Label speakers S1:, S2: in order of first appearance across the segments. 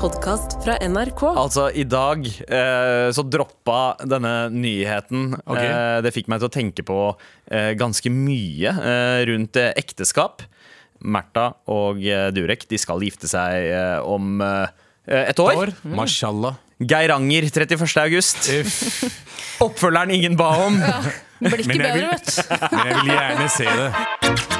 S1: podkast fra NRK.
S2: Altså, i dag eh, så droppa denne nyheten.
S3: Ok.
S2: Eh, det fikk meg til å tenke på eh, ganske mye eh, rundt eh, ekteskap. Märtha og eh, Durek de skal gifte seg eh, om eh, et år.
S3: År? Mashallah.
S2: Geiranger 31. august.
S3: Uff.
S2: Oppfølgeren ingen ba om.
S1: Det blir ikke
S3: Men jeg
S1: bedre,
S3: vil-
S1: vet du.
S3: Men jeg vil gjerne se det.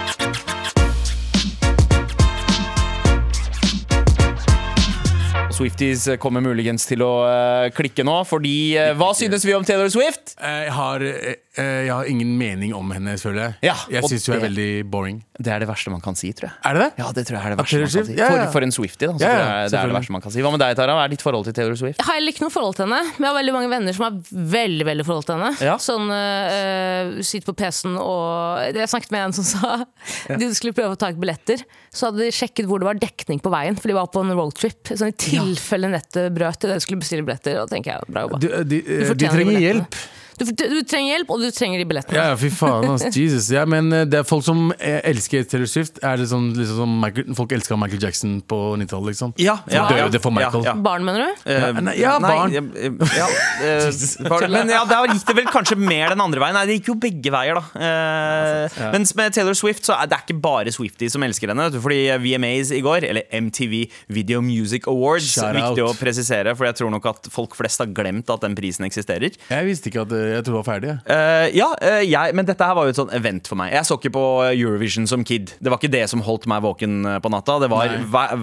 S2: Swifties kommer muligens til å eh, klikke nå, fordi eh, hva synes vi om Taylor Swift?
S3: Jeg har, eh, eh, jeg har ingen mening om henne, føler jeg.
S2: Ja,
S3: jeg
S2: og
S3: syns hun er
S2: det-
S3: veldig boring.
S2: Det er det verste man kan si, tror jeg.
S3: Er det det?
S2: Ja, det tror jeg er det
S3: At
S2: verste man
S3: Taylor
S2: kan si.
S3: Swift- ja, ja.
S2: For, for en Swiftie, da. Så
S3: Ja,
S2: tror jeg
S3: ja,
S2: det er det
S3: selvfølgelig.
S2: verste man kan si. Hva med deg, Tara? Hva er ditt forhold til Taylor Swift?
S1: Jeg har heller ikke noe forhold til henne, men jeg har veldig mange venner som har veldig veldig forhold til henne.
S2: Ja.
S1: Sånn eh, sitter på PC-en og Jeg snakket med en som sa de skulle prøve å ta ut billetter. Så hadde de sjekket hvor det var dekning på veien, for de var på en roadtrip. Sånn i tilfelle nettet brøt til dere skulle bestille billetter. Og da tenker jeg, bra jobba.
S3: Du, eh, de, eh, de
S1: fortjener
S3: trenger
S1: billettene.
S3: hjelp.
S1: Du, fort- du trenger hjelp, og du trenger de billettene.
S3: Ja, ja, fy faen. ass. Jesus. Ja, men eh, det er folk som eh, elsker Taylor Swift. Er det sånn, liksom, som Michael, folk elska Michael Jackson på 90-tallet, liksom.
S2: Ja, ja,
S3: døde
S2: ja.
S3: for Michael.
S2: Ja, ja.
S1: Barn, mener du?
S2: Eh,
S3: Ja, nei, ja, barn.
S2: eh, ja, eh, barn. Men ja, der gikk det vel kanskje mer den andre veien. Nei, det gikk jo begge veier, da. Eh, Mens med Taylor Swift så er det ikke bare Swifties som elsker henne. vet du, Fordi VMAs i går, eller MTV Video Music Awards,
S3: Shout
S2: viktig å
S3: out.
S2: presisere, for jeg tror nok at folk flest har glemt at den prisen eksisterer.
S3: Jeg visste ikke at eh, Jeg trodde det var ferdig. jeg.
S2: Eh, ja, eh, jeg, men dette her var jo et sånn event for meg. Jeg så ikke på Eurovision som kid. Det var ikke det som holdt meg våken eh, på natta. Det var hver,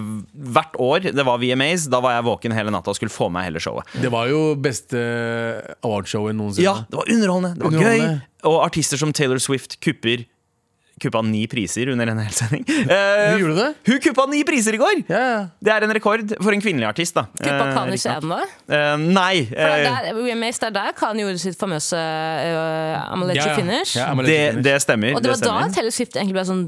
S2: Hvert år det var VMAs, da var jeg våken hele natta og skulle få med hele showet.
S3: Det var jo beste eh, awardshowet noensinne.
S2: Ja, det var underholdende, det var
S3: Underholdende.
S2: gøy. Og artister som Taylor Swift kupper Kuppa ni priser under en hel sending.
S3: Hun
S2: Eh,
S3: gjorde det?
S2: hun kuppa ni priser i går!
S3: Ja,
S2: Det er en rekord for en kvinnelig artist, da.
S1: Gruppa
S2: Eh,
S1: Khan i
S2: riktignok.
S1: Skien, da?
S2: Eh, nei.
S1: For det
S2: eh,
S1: er der, VMAs, det er der Khan gjorde sitt famøse uh, I'm a let
S3: ja.
S1: you finish.
S3: Ja, I'm a let you
S2: det,
S3: finish.
S2: det stemmer.
S1: Og det var da
S2: stemmer.
S1: Taylor Swift egentlig ble sånn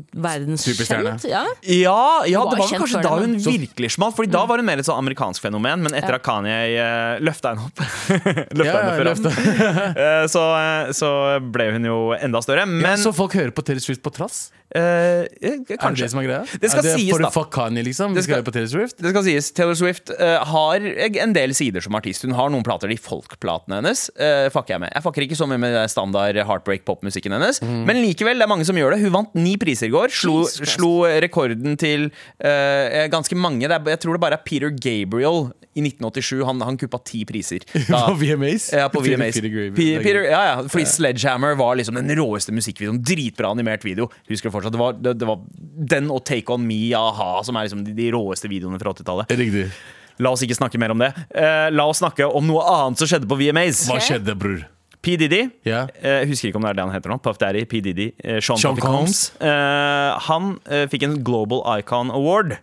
S3: Superstjerne.
S1: verdenskjent. Ja.
S2: Ja, ja
S1: Hun var
S2: det var
S1: kjent Mm.
S2: vel kanskje
S1: før
S2: da
S1: den,
S2: hun
S1: da.
S2: virkelig smalt. Fordi da var hun mer et sånn amerikansk fenomen, men etter at Kanye eh, løfta henne opp Løfta
S3: Ja,
S2: henne
S3: ja,
S2: opp fra aften, eh, så, eh, så ble hun jo enda større. Men
S3: Men, så folk hører på Taylor Swift på trass?
S2: eh, eh,
S3: Er det
S2: kanskje.
S3: det som er greia?
S2: Det skal
S3: er det
S2: sies,
S3: for
S2: da.
S3: fuck Kanye, liksom? Vi
S2: Det skal-
S3: skal høre på Taylor Swift?
S2: Det skal sies, Taylor Swift eh, har en del sider som artist. Hun har noen plater, de folkplatene hennes. eh, fucker Jeg med Jeg fucker ikke så mye med det standard heartbreak popmusikken hennes. Men likevel, det er mange som gjør det. Hun vant ni priser i går. Slo,
S1: Mhm. Jesus Christ.
S2: slo rekorden til eh, ganske mange. Det er, jeg tror det bare er Peter Gabriel i 1987. Han, han kuppa ti priser. Da-
S3: På VMAs?
S2: ja, på
S3: Peter-
S2: VMAs.
S3: Peter Gabriel.
S2: Pe- Peter, ja, ja, fordi Sledgehammer var liksom den råeste musikkvideoen. Dritbra animert video. Husker jeg fortsatt Det var, det, det var den og Take On Me, a-ha, som er liksom de, de råeste videoene fra 80-tallet.
S3: Riktig.
S2: La oss ikke snakke mer om det. Eh, la oss snakke om noe annet som skjedde på VMAs.
S3: Hva
S1: Ok.
S3: skjedde, bror?
S2: P. Diddy.
S3: Ja.
S2: eh, husker ikke om det er det han heter nå. Puff Daddy, P. Diddy, eh, Sean,
S3: Sean
S2: Puffy Combs. Eh, han eh, fikk en Global Icon Award.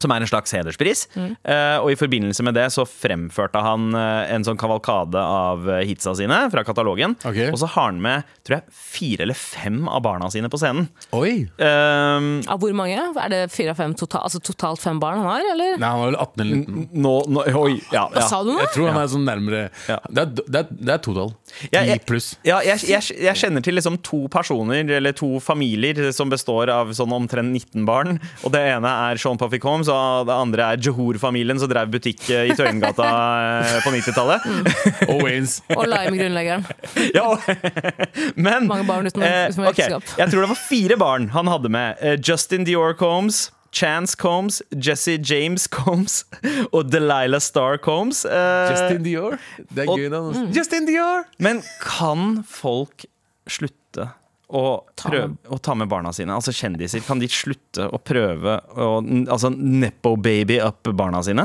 S2: Som er en slags hederspris.
S1: Mm.
S2: Eh, og i forbindelse med det så fremførte han eh, en sånn kavalkade av eh, hitsa sine fra katalogen.
S3: Ok.
S2: Og så har han med tror jeg, fire eller fem av barna sine på scenen.
S3: Oi!
S2: Eh,
S1: Av hvor mange? Er det fire av fem totalt? Altså totalt fem barn han har, eller?
S3: Nei, han var vel 18 eller 19.
S2: nå, nå, oi, ja,
S1: Hva
S2: ja.
S1: sa du nå?
S3: Jeg tror han er sånn nærmere
S2: Ja.
S3: Det er, det er, det er totall.
S2: Ja,
S3: Ti
S2: jeg-
S3: pluss.
S2: Ja, jeg, jeg, jeg kjenner til liksom to personer, eller to familier, som består av sånn omtrent 19 barn. Og det ene er Sean Puffy Combs, og det andre er Johor-familien, som drev butikk eh, i Tøyengata eh, på
S1: Mm.
S2: 90-tallet.
S3: Og Waynes.
S1: Og Lime-grunnleggeren.
S2: Ja, og- men eh,
S1: Mange barn uten- uten
S2: ok,
S1: ekteskap.
S2: Jeg tror det var fire barn han hadde med. Eh, Justin Dior Combs. Chance Combs, Jesse James Combs og Delilah Star Combs. Eh,
S3: Justin Dior. Det er
S2: og-
S3: gøy navn. også. Mm. Justin Dior!
S2: Men kan folk slutte å, prøve, å ta med barna sine? Altså kjendiser. Kan de slutte å prøve å n- altså, nepo-baby up barna sine?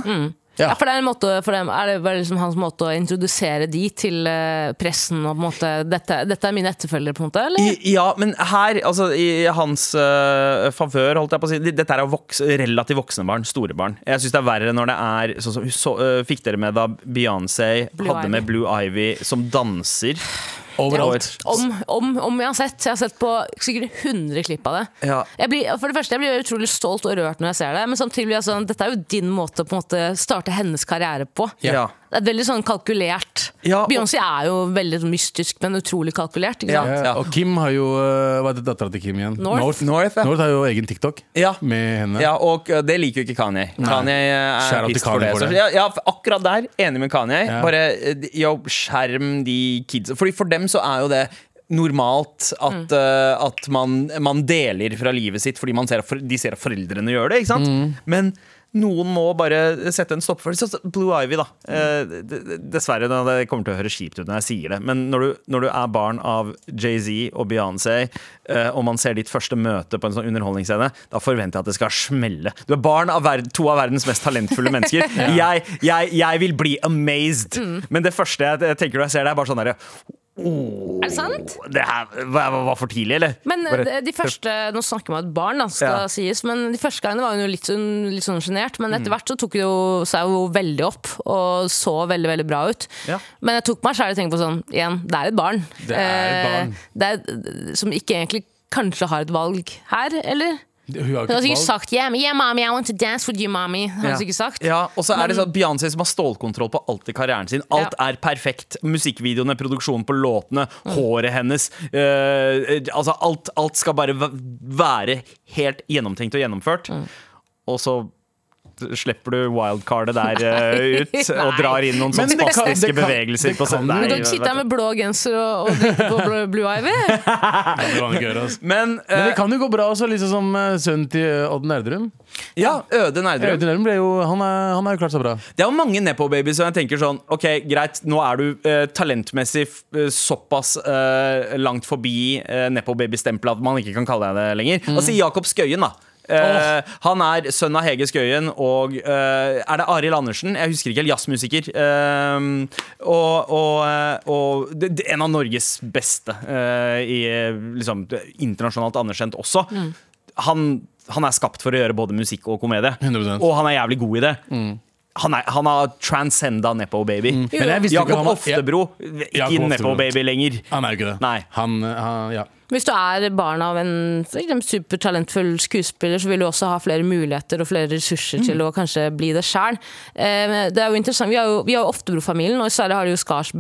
S1: Ja. for det er en måte for dem, er det bare liksom hans måte å introdusere de til eh, pressen og på en måte dette, dette er mine etterfølgere, på en måte?
S2: I,
S1: Eller?
S2: ja, men her, altså i hans øh, favør, holdt jeg på å si Dette er jo voks, relativt voksne barn. Store barn. Jeg syns det er verre når det er sånn som så, øh, Fikk dere med da Beyoncé
S1: Blue
S2: hadde
S1: Ivy.
S2: med Blue Ivy som danser?
S3: Overalt.
S1: Om, om, om jeg har sett. Jeg har sett på sikkert 100 klipp av det.
S2: Ja.
S1: Jeg blir, for det første, jeg blir utrolig stolt og rørt når jeg ser det, men samtidig blir jeg sånn Dette er jo din måte å på en måte starte hennes karriere på.
S2: Ja.
S1: Det er veldig sånn kalkulert.
S2: Ja, og-
S1: Beyoncé er jo veldig sånn mystisk, men utrolig kalkulert. Ikke sant?
S2: Ja.
S3: Ja, og Kim har jo eh, Hva er det dattera til Kim igjen?
S1: North.
S2: North, ja.
S3: North har jo egen TikTok
S2: Ja.
S3: med henne.
S2: Ja, og ø, det liker jo ikke Kanye. Kanye ø, er
S3: Shout out til
S2: pissed for
S3: Kanye
S2: det.
S3: for
S2: Så,
S3: det.
S2: ja, ja, for akkurat der, enig med Kanye.
S3: Ja.
S2: Bare ø, de- yo, skjerm de kidsa. Fordi for dem så er jo det normalt at, ø, at man, man deler fra livet sitt fordi man ser at for, de ser at foreldrene gjør det, ikke sant? Men noen må bare sette en stopper for det. Sånn som Blue Ivy, da. Eh, d- d- Dessverre, nå, det kommer til å høre kjipt ut når jeg sier det, men når du, når du er barn av Jay-Z og Beyoncé, eh, og man ser ditt første møte på en sånn underholdningsscene, da forventer jeg at det skal smelle. Du er barn av verd- to av verdens mest talentfulle mennesker. jeg, jeg, jeg vil bli amazed.
S3: Mm.
S2: Men det første jeg jeg tenker når jeg ser det, er bare sånn derre «Åh,
S1: Er det sant?
S2: Det her var, var for tidlig, eller?
S1: Men eh,
S2: Bare-
S3: eh,
S1: de, de første, Nå snakker man om et barn, da, skal
S2: Ja.
S1: sies, men de første gangene var hun jo litt sånn- litt sånn sjenert. Men
S2: Mm.
S1: etter hvert så tok hun jo seg jo veldig opp og så veldig veldig bra ut.
S2: Ja.
S1: Men jeg tok meg selv og tenkte på sånn igjen, det er et barn. Eh,
S3: Det er et barn.
S1: det er, som ikke egentlig kanskje har et valg her, eller?
S3: Hun har jo
S1: Hun har
S3: ikke
S1: sikkert
S3: et valg.
S1: sagt yeah, yeah, mommy, I want to dance with you, mommy. Har hun
S2: Ja.
S1: sikkert sagt.
S2: Ja, og så er det sånn at Beyoncé som har stålkontroll på alt i karrieren sin. Alt er perfekt. Musikkvideoene, produksjonen på låtene, håret hennes. eh, altså alt, alt skal bare væ- være helt gjennomtenkt og gjennomført.
S3: Mm.
S2: Og så slipper du wildcardet der eh, ut og
S1: Nei.
S2: drar inn noen
S3: Men
S2: sånne
S3: det kan-
S2: spastiske
S3: det kan-
S2: bevegelser.
S3: det
S2: på
S3: kan
S2: scenen.
S3: jo-
S1: Du
S2: Nei,
S1: kan ikke sitte her med blå genser og, og drikke på Blue- Blue Ivy.
S3: Ja, det var noe gøy, altså.
S2: Men, eh,
S3: Men det kan jo gå bra også, liksom som eh, sønnen til eh, Odd Nerdrum.
S2: ja, Øde Nerdrum.
S3: Audun Nerdrum ble jo, han er- han har jo klart seg bra.
S2: Det er jo mange Nepo-babies som jeg tenker sånn Ok, greit, nå er du eh, talentmessig f- eh, såpass eh, langt forbi eh, Nepo-baby-stempelet at man ikke kan kalle deg det lenger. Altså Jakob Skøyen, da. Eh, Han er sønn av Hege Skøyen og eh, Er det Arild Andersen? Jeg husker ikke helt. Jazzmusiker. Eh, og og, eh, og det, det, en av Norges beste eh, i eh, liksom, internasjonalt anerkjent også. Han, han er skapt for å gjøre både musikk og komedie.
S3: 100%.
S2: Og han er jævlig god i det.
S3: Mm.
S2: Han, er, han har transcenda Nepo Baby.
S3: Men jeg Mm. visste jo ikke
S2: Jakob
S3: han var-
S2: Oftebro, ikke
S3: Jakob
S2: Nepo
S3: Oftebro.
S2: Baby lenger.
S3: Han er jo ikke det.
S2: Nei.
S3: Han, eh, han, ja.
S1: Hvis du er barn av en for eksempel, supertalentfull skuespiller, så vil du også ha flere muligheter og flere ressurser til å kanskje bli det sjøl. Det er jo interessant. Vi har jo, vi har jo Oftebro-familien, og i Sverige har de jo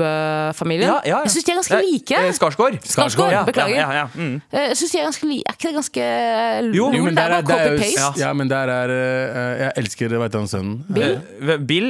S1: Skarsbø-familien.
S2: Ja, ja, ja.
S1: Jeg syns de er ganske
S2: Eh,
S1: like.
S2: eh, Skarsgård.
S1: Skarsgård,
S2: Ja,
S1: beklager.
S2: Ja, ja, ja. Mm.
S1: Eh, Jeg synes de er ganske like. Er ikke det ganske
S2: Jo,
S1: lol?
S2: jo,
S1: det er bare copy-paste.
S3: ja. ja, men der er eh, Jeg elsker, veit du han sønnen?
S1: Bill?
S2: Eh, Bill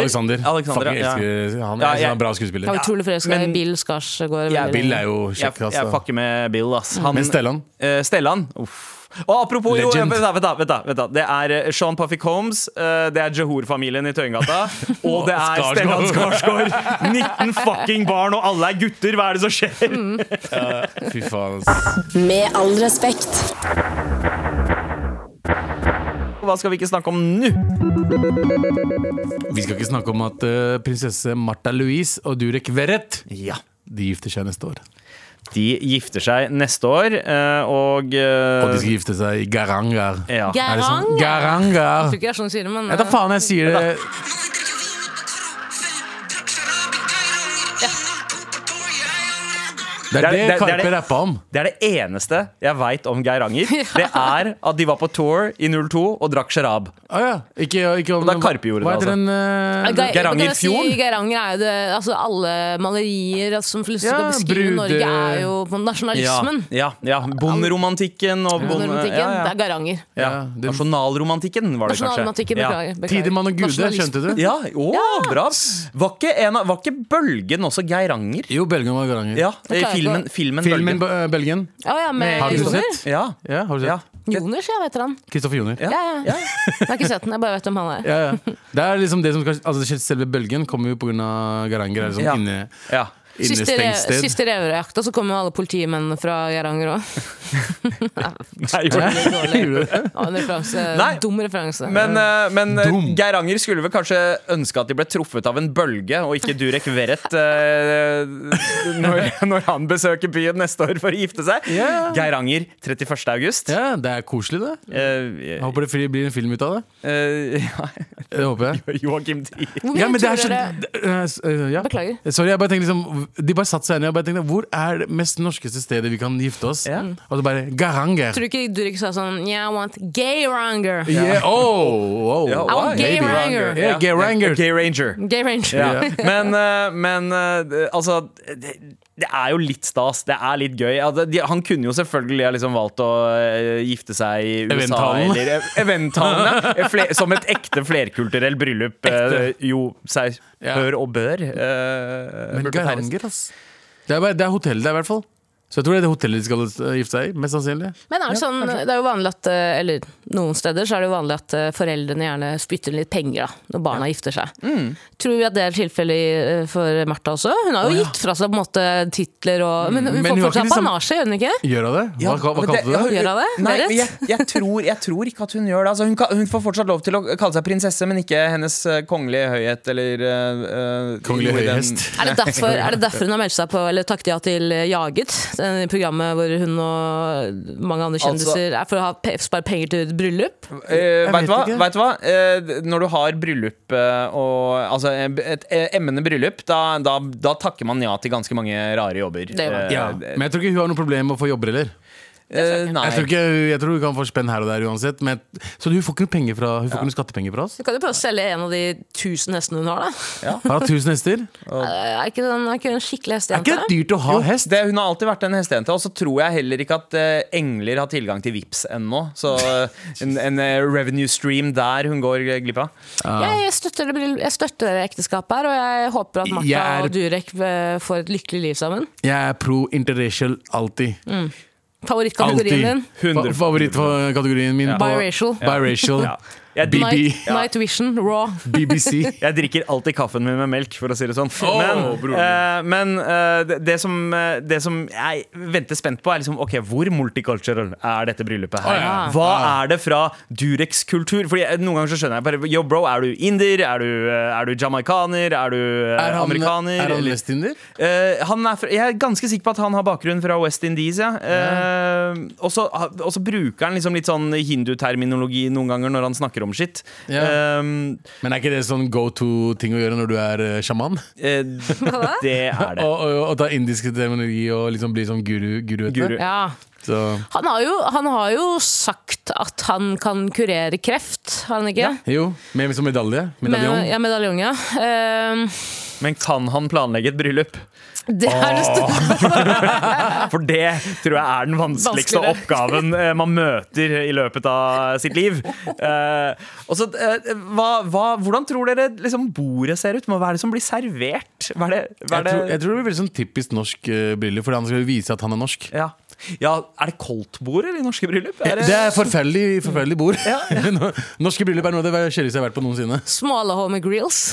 S1: Alexander.
S3: Alexander.
S2: Alexander,
S3: Fucking
S2: ja.
S3: elsker han.
S2: Ja,
S3: Jeg
S2: jeg-
S3: synes han er en bra skuespiller.
S1: Jeg var utrolig forelska
S2: men-
S1: i Bill Skarsgård.
S2: Ja,
S1: veldig
S3: Bill
S1: lenge.
S3: er jo
S2: Jeg,
S3: kjekk, altså.
S2: jeg fucker med Bill, ass. Han-
S3: Men Stellan?
S2: Eh, Stellan. Uff. Og apropos jo,
S3: Legend.
S2: vent da, vent da, vent da, vent da. Det er eh, Sean Puffick Holmes, eh, det er Johor-familien i Tøyengata, og det er
S3: Skarsgård.
S2: Stellan Skarsgård. 19 fucking barn, og alle er gutter! Hva er det som skjer?
S1: Mm.
S3: Fy faen. ass.
S4: Med all respekt.
S2: Hva skal vi ikke snakke om nå?
S3: Vi skal ikke snakke om at eh, prinsesse Martha Louise og Durek Verrett
S2: Ja
S3: De gifter seg neste år.
S2: De gifter seg neste år, eh, og eh,
S3: Og de skal gifte seg i Garangar.
S2: ja.
S1: Gæ-
S3: Er det
S1: Garanger.
S3: sånn?
S1: Jeg
S3: Garangar!
S1: tror ikke det er sånn de sier det, men
S3: Jeg vet da faen jeg sier det. Det
S2: Det er-
S3: er det
S2: det er- det er
S3: Karpe
S2: det-
S3: rappa om.
S2: Det er det eneste jeg veit om Geiranger. Det er at de var på tour i 02 og drakk sharab.
S3: Å ja. Ikke, ikke
S2: Og
S3: om
S2: det er Karpe gjorde
S3: Hva
S2: det,
S3: heter den eh,
S1: Ge- men kan
S2: Geirangerfjorden?
S1: jeg Si, Geiranger er jo det altså Alle malerier altså, som liksom
S3: Ja,
S1: skal beskrive
S3: brude-
S1: Norge, er jo på nasjonalismen.
S2: ja, ja. Bonderomantikken og bonde-
S1: Romantikken,
S2: ja, ja.
S1: Det er Geiranger.
S2: Ja.
S3: Ja, det-
S2: Nasjonalromantikken, var det kanskje.
S1: Nasjonalromantikken, beklager. beklager.
S3: Tidemann og Gude,
S1: Nasjonalisme.
S3: skjønte du?
S2: Ja, å, bra. Var ikke, en av, var ikke Bølgen også Geiranger?
S3: Jo, Belgen var Garanger.
S2: Ja, i
S1: klarer ikke
S2: filmen,
S1: å-
S2: filmen Bølgen.
S3: Filmen Be- Belgien.
S1: Å ja, med
S2: Har
S3: Har du
S1: Kristoffer?
S3: sett?
S2: Ja,
S3: Ja, har du
S2: ja.
S3: sett?
S1: Jonas, jeg vet han.
S3: Kristoffer Joner.
S1: Ja, ja. Jeg har ikke sett den, jeg bare vet hvem han er.
S3: Ja, ja. Det er liksom det som skal, altså Selve bølgen kommer jo pga. Garanger. Er liksom
S2: Ja.
S3: inne,
S2: ja.
S1: Siste, re
S3: innestengt sted.
S1: siste revejakta, så kom jo alle politimennene fra Geiranger òg.
S2: Nei, jo.
S3: Gjorde det?
S2: Nei.
S1: Dum referanse.
S2: Men, eh, men eh,
S3: Dum.
S2: Geiranger skulle vel kanskje ønske at de ble truffet av en bølge, og ikke Durek Verrett, eh, når, når han besøker byen neste år for å gifte seg.
S3: Ja.
S2: Geiranger 31. august.
S3: Ja, det er koselig, det.
S2: Eh,
S3: Jeg håper det fri- blir en film ut av det.
S2: eh, ja,
S3: Det håper jeg.
S2: Joakim Trier.
S1: Hvor mye
S3: Ja, men det er
S1: tror
S3: så
S1: dere-
S3: Eh, s- eh, ja.
S1: Beklager.
S3: Sorry, jeg bare tenker liksom de bare satte seg ned og bare tenkte Hvor er det mest norskeste stedet vi kan gifte oss? Mm.
S2: Ja.
S3: Og så bare Garanger.
S1: Tror du ikke Durek sa sånn Yeah, I want gay ranger.
S3: Yeah. Oh, oh,
S2: Ja,
S1: I want gay
S3: maybe.
S1: ranger.
S3: Yeah, gay ranger.
S2: Gay Ranger.
S1: Gay ranger.
S2: Ja. Men, eh, men eh, det- altså det, det er jo litt stas. Det er litt gøy. Altså, de, han kunne jo selvfølgelig ha liksom valgt å eh, gifte seg i USA
S3: Eventhallen.
S2: eller ev- Eventhallen. ja. Fle- som et ekte flerkulturell bryllup. eh, jo, seg
S3: Ja.
S2: bør og bør. eh,
S3: Men
S2: burde feires.
S3: Garanger, ass. Det er, bare, det er hotellet der, i hvert fall. Så jeg tror det er det hotellet de skal eh, gifte seg i. Mest sannsynlig.
S1: Men er det, sånn, det er jo vanlig at eh, Eller noen steder så er det jo vanlig at eh, foreldrene gjerne spytter inn litt penger da, når barna gifter seg.
S3: Mm.
S1: Tror vi at det er tilfellet eh, for Martha også? Hun har jo gitt fra seg på en måte titler og Men hun får
S3: Men hun har
S1: fortsatt
S3: ikke de samme-
S1: panasje, gjør hun ikke?
S3: Gjør hun det? Hva,
S2: Ja,
S3: hva, hva
S2: men
S3: kalte du det?
S1: Gjør hun det?
S2: Nei,
S1: Det er rett.
S2: jeg, jeg, tror, jeg tror ikke at hun gjør det. Altså, hun, kan, hun får fortsatt lov til å kalle seg prinsesse, men ikke hennes eh, kongelige høyhet eller eh, eh,
S3: Kongelige
S2: noe i den-
S3: høyhest.
S1: Er det, derfor, er det derfor hun har meldt seg på eller takket ja til eh, Jaget? Det programmet hvor hun og mange andre
S2: Altså-
S1: kjendiser er for å ha pe spare penger til et bryllup?
S2: Eh,
S3: Jeg
S2: vet,
S3: vet
S2: du hva?
S3: ikke.
S2: vet du hva? Eh, d- når du har bryllup eh, og Altså et, et, emmende bryllup, da, da, da takker man ja til ganske mange rare jobber.
S1: Det gjør man.
S2: Eh,
S3: Ja.
S2: eh,
S3: Men jeg tror ikke hun har noe problem med å få jobber heller.
S2: nei.
S3: Jeg tror, ikke, jeg tror hun kan få spenn her og der uansett. Men, så hun får ikke noe, penger fra, hun får ikke noe skattepenger fra oss?
S1: Du kan jo prøve å selge en av de tusen hestene hun har, da.
S3: Har hatt tusen hester?
S1: Eh, Er ikke den er ikke hun en skikkelig
S3: Er
S1: hestejente?
S3: ikke det dyrt å ha hest?
S2: Det, hun har alltid vært en hestejente, og så tror jeg heller ikke at eh, engler har tilgang til VIPs ennå. Så eh, en, en eh, revenue stream der hun går glipp av.
S1: Jeg støtter, det, bryll- jeg støtter det ekteskapet her, og jeg håper at Martha
S3: Jeg er-
S1: og Durek eh, får et lykkelig liv sammen.
S3: Jeg er pro interracial alltid.
S1: Favorittkategorien
S3: Alltid.
S1: din?
S3: Fa- Favorittkategorien min på
S1: Biracial.
S3: Biracial.
S2: Ja. Jeg,
S3: BB.
S1: Night, Night Vision, Raw.
S3: BBC.
S2: Jeg drikker alltid kaffen min med melk, for å si det sånn.
S3: Åh,
S2: men
S3: broren min.
S2: eh, men eh, det, det, som, eh, det som jeg venter spent på, er liksom OK, hvor multicultural er dette bryllupet her?
S3: Å, ja. Ah.
S2: Hva er det fra Durex kultur? Fordi eh, noen ganger så skjønner jeg bare Yo, bro, er du inder? Er du, eh, er du jamaikaner? Er du eh,
S3: Er han,
S2: amerikaner?
S3: er han
S2: Eller-
S3: vestinder?
S2: Eh, han er fra, jeg er ganske sikker på at han har bakgrunn fra West Indies. Ja. Eh, og så og så bruker han liksom litt sånn hinduterminologi noen ganger når han snakker om shit.
S3: Ja.
S2: Eh,
S3: Men er ikke det sånn go to-ting å gjøre når du er eh, sjaman?
S2: Eh, det er det.
S3: Og, og, og ta indisk terminologi og liksom bli sånn guru? guru, vet du?
S2: Guru.
S1: Ja.
S3: Så,
S1: Han, har jo, han har jo sagt at han kan kurere kreft, har han ikke?
S3: jo, med som medalje.
S1: Med,
S3: Medaljong.
S1: ja, medaljong, ja. Ehm,
S2: Men kan han planlegge et bryllup?
S1: det er det største
S2: For det tror jeg er den vanskeligste
S1: Vanskeligere.
S2: oppgaven eh, man møter i løpet av sitt liv. Eh, og så, eh, hva, hva, hvordan tror dere liksom bordet ser ut? Hva er det som blir servert? Hva er det, hva er
S3: Jeg
S2: det?
S3: tror, jeg tror det blir veldig sånn typisk norsk uh, briller, for han skal jo vise at han er norsk.
S2: Ja. ja, er det koldtbord eller i norske bryllup? Er
S3: Det er forferdelig, forferdelig bord. Norske bryllup er noe av det kjedeligste jeg har vært på noensinne.
S1: smale home grills.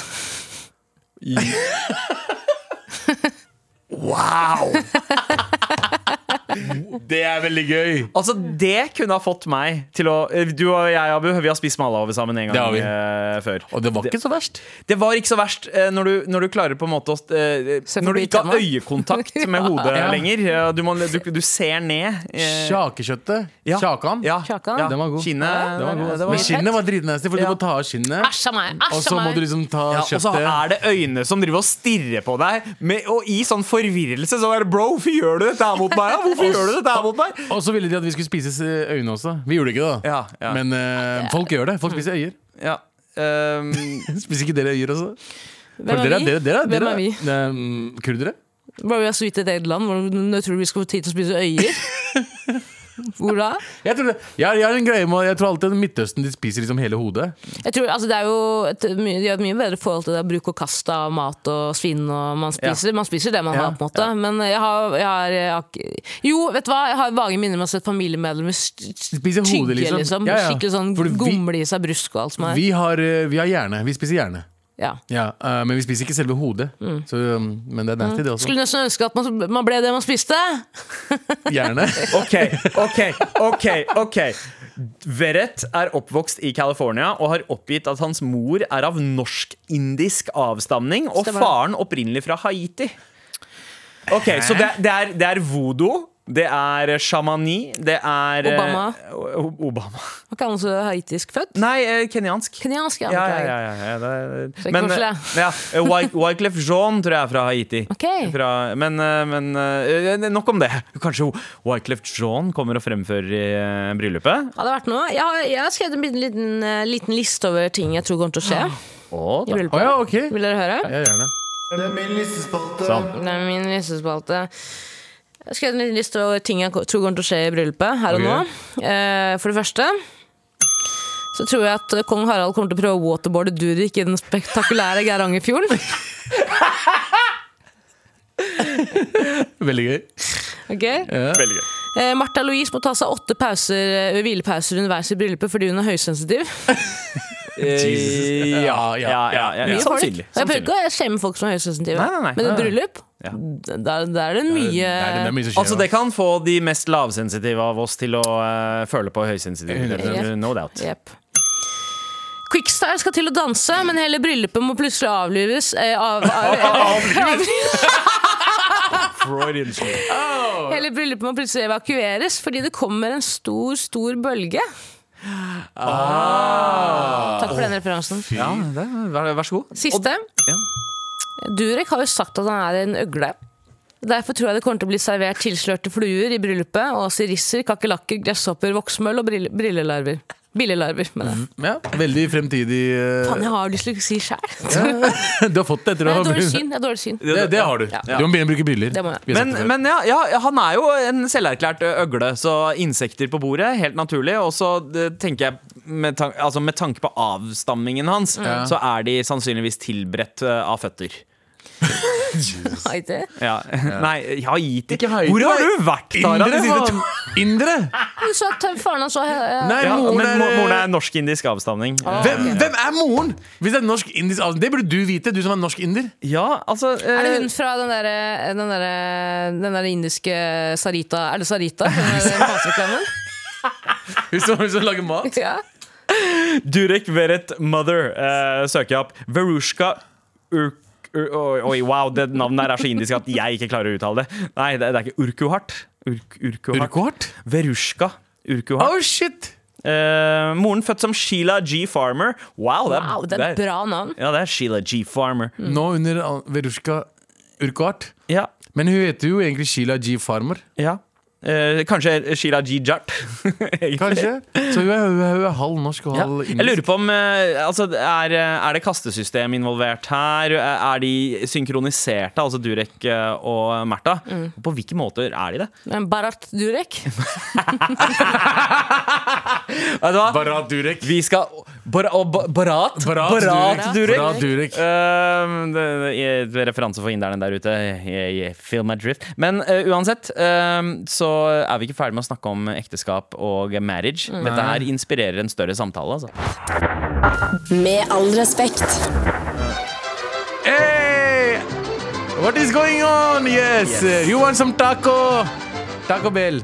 S2: Wow!
S3: Det er veldig gøy!
S2: Altså, det kunne ha fått meg til å eh, Du og jeg, Abu, vi har spist malahove sammen en gang
S3: Det har vi.
S2: eh, før.
S3: Og det var ikke så verst.
S2: Det var ikke så verst eh, når du, når du klarer på en måte å eh,
S1: Se
S2: Når du
S1: forbi
S2: ikke har
S1: tennene.
S2: øyekontakt med hodet lenger. Ja, Du, må, du, du ser ned. eh,
S3: Sjakekjøttet.
S2: ja.
S3: Sjakan.
S2: Ja,
S1: Sjakan.
S2: ja.
S3: Den var god.
S2: Kinnet.
S3: Den var god.
S2: det var-
S3: Men skinnet var dritnasty, for
S2: Ja.
S3: du må ta av skinnet.
S1: Æsj a meg!
S3: Og
S1: Æsj
S3: så
S1: a
S3: må
S1: meg!
S3: du liksom ta
S2: Ja, og så
S3: kjøttet.
S2: er det øyne som driver og stirrer på deg, med, og i sånn forvirrelse. Så er det Bro, hvorfor gjør du dette her mot meg? da? Hvorfor gjør du dette her mot meg?
S3: Og så ville de at vi skulle spise øyne også. Vi gjorde det ikke, da.
S2: Ja, ja.
S3: Men eh, folk gjør det. Folk spiser øyer.
S2: Ja, ehm,
S3: Spiser ikke dere øyer også?
S1: Hvem
S3: For
S1: er
S3: dere,
S1: vi?
S3: dere, dere,
S1: Hvem
S3: dere,
S1: er vi?
S3: Nei, mm, kurdere?
S1: Var vi så vidt et eget land? Hvordan tror du vi skal få tid til å spise øyer? Hvor da?
S3: Jeg tror, det, jeg, jeg, har en greie med, jeg tror alltid at Midtøsten de spiser liksom hele hodet.
S1: Jeg tror, altså, det er jo et, my- De har et mye bedre forhold til det å bruke og kaste av mat og svinn. Og man, spiser, man spiser det man
S3: Ja,
S1: har, på en måte. Men jeg har, jeg har, jeg har ikke- Jo, vet du hva? Jeg har vage minner om å ha sett familiemedlemmer st-
S3: Spiser hodet,
S1: tygge,
S3: liksom.
S1: liksom.
S3: Ja, ja.
S1: Skikkelig sånn
S3: Fordi vi-
S1: gomle i seg brusk og alt som er.
S3: Vi har, eh, vi har hjerne. Vi spiser hjerne.
S1: Ja.
S3: Ja, eh, men vi spiser ikke selve hodet.
S2: Mm.
S3: Så, um, men det er nasty, det også.
S1: Skulle nesten ønske at man, man ble det man spiste.
S3: Hjerne.
S2: Ok, ok, ok, ok Verrett er oppvokst i California og har oppgitt at hans mor er av norsk-indisk avstamning og
S1: Stemmer det.
S2: faren opprinnelig fra Haiti. Ok, Så det, det, er, det er voodoo, Det er Shamani. Det er eh,
S1: Obama.
S2: O- Obama.
S1: Var ikke han også haitisk født?
S2: Nei, eh, kenyansk.
S1: Kenyansk, ja.
S2: Ja, ja,
S1: beklager.
S2: ja, ja, ja, det
S1: Så
S2: er-
S1: ikke
S2: Men
S1: koselig,
S2: eh, ja, eh, Wyc- Wyclef Jean tror jeg er fra Haiti.
S1: Ok.
S2: Fra, men eh, men eh, eh, nok om det. Kanskje Wyclef Jean kommer og fremfører i eh, bryllupet.
S1: Hadde det vært noe. Jeg har, jeg har skrevet en liten, liten, eh, liten liste over ting jeg tror kommer til å skje.
S2: Å,
S1: i
S2: da.
S1: bryllupet.
S3: Å Ah. ja, ok.
S1: Vil dere høre?
S3: Ja, gjerne.
S2: Sånn.
S1: Det er min listespalte. Jeg har skrevet en liten liste over ting jeg tror kommer til å skje i bryllupet her og
S3: Ok.
S1: nå. Eh, for det første så tror jeg at kong Harald kommer til å prøve å waterboarde Durek i den spektakulære Geirangerfjorden.
S3: Veldig gøy.
S1: Okay?
S2: Veldig gøy.
S1: Eh, Martha Louise må ta seg åtte pauser, eh, hvilepauser underveis i bryllupet fordi hun er høysensitiv.
S3: Jesus. Ja, ja,
S2: Eh, ja, ja, ja,
S1: Mye
S2: ja.
S1: folk.
S2: Sannsynlig.
S1: Og Jeg prøver ikke å skjemme folk som er høysensitive,
S2: Nei, nei, nei.
S1: men et
S2: Nei, nei.
S1: bryllup,
S2: Ja.
S1: der, der er det mye
S3: Det er, det er mye som skjer.
S2: Altså Det kan få de mest lavsensitive av oss til å eh, føle på høysensitivitet.
S1: 100%.
S2: No doubt.
S1: Jep. Quickstyle skal til å danse, men hele bryllupet må plutselig avlives. Eh, av, av, hele bryllupet må plutselig evakueres fordi det kommer en stor, stor bølge. Takk for den referansen.
S2: Ja, det, vær, vær så god.
S1: Siste.
S2: ja.
S1: Durek har jo sagt at han er en øgle. Derfor tror jeg det kommer til å bli servert tilslørte fluer i bryllupet, og sirisser, kakerlakker, gresshopper, voksmøll og brill- brillelarver. Billelarver, mener jeg.
S3: Ja, veldig fremtidig eh,
S1: Faen, jeg har jo dysleksi sjæl.
S3: Du har fått det etter å ha
S1: Dårlig syn. Jeg har dårlig syn.
S3: Det, det har du. Du må begynne å bruke briller.
S1: Det må jeg.
S3: Vi har
S2: Men,
S3: sagt det før.
S2: men ja, ja, han er jo en selverklært øgle, så insekter på bordet, helt naturlig. Og så det tenker jeg, med, tan altså, med tanke på avstammingen hans, så er de sannsynligvis tilberedt eh, av føtter.
S1: Nei, det-
S2: Ja. Nei, haiti.
S3: Ikke haiti.
S2: Hvor har du vært, Tara? de
S3: Indre,
S2: siste to-
S3: faen! Indre!
S1: Du sa at faren hans var eh,
S3: Nei,
S2: Ja,
S3: moren
S2: men
S3: er, eh, Ah.
S2: mo- moren er norsk-indisk avstamning.
S3: hvem, hvem er moren? Hvis det er norsk-indisk avstamning, Det burde du vite, du som er norsk-inder.
S2: Ja, altså
S1: Er det
S2: eh,
S1: hun fra den derre den derre- den derre indiske Sarita Er det Sarita? Den der matreklamen?
S3: Hun som, hun som lager mat.
S1: Ja.
S2: Durek Veret Mother eh, søker jeg opp. Verushka Urk... Ur, oi, oi, wow, det navnet der er så indisk at jeg ikke klarer å uttale det. Nei, det, det er ikke Urkuhart. Urk, Urkuhart.
S3: Urquhart?
S2: Verushka Urkuhart.
S3: Oh, shit!
S2: Eh, moren født som Sheila G. Farmer. Wow, det er,
S1: Wow, det er et bra navn.
S2: Ja, det er Sheila G. Farmer.
S3: Nå under Al- Verushka Urquhart.
S2: Ja,
S3: Men hun heter jo egentlig Sheila G. Farmer.
S2: ja. Eh, kanskje Sheila G. Jart.
S3: Kanskje? Så hun er, hun er, hun er halv norsk og
S2: Ja.
S3: halv
S2: Jeg lurer
S3: indisk.
S2: på om eh, altså, er, er det kastesystem involvert her? Eh, Er de synkroniserte, altså Durek eh, og Märtha? På hvilke måter er de det?
S1: Men Barat Durek.
S2: Vet du hva?
S3: Barat Durek.
S2: Vi skal Bar og ba Barat?
S3: Barat Durek.
S2: Durek.
S3: Barat Durek.
S2: Eh, det, det, referanse for inderne der ute. Jeg, jeg, feel my drift. Men eh, uansett eh, så er vi ikke ferdig med å snakke om ekteskap og marriage. Dette her inspirerer en større samtale. Altså.
S4: Med all respekt.
S3: Hey! What is going on? Yes! uh, Ah. You want some taco? Taco Bell.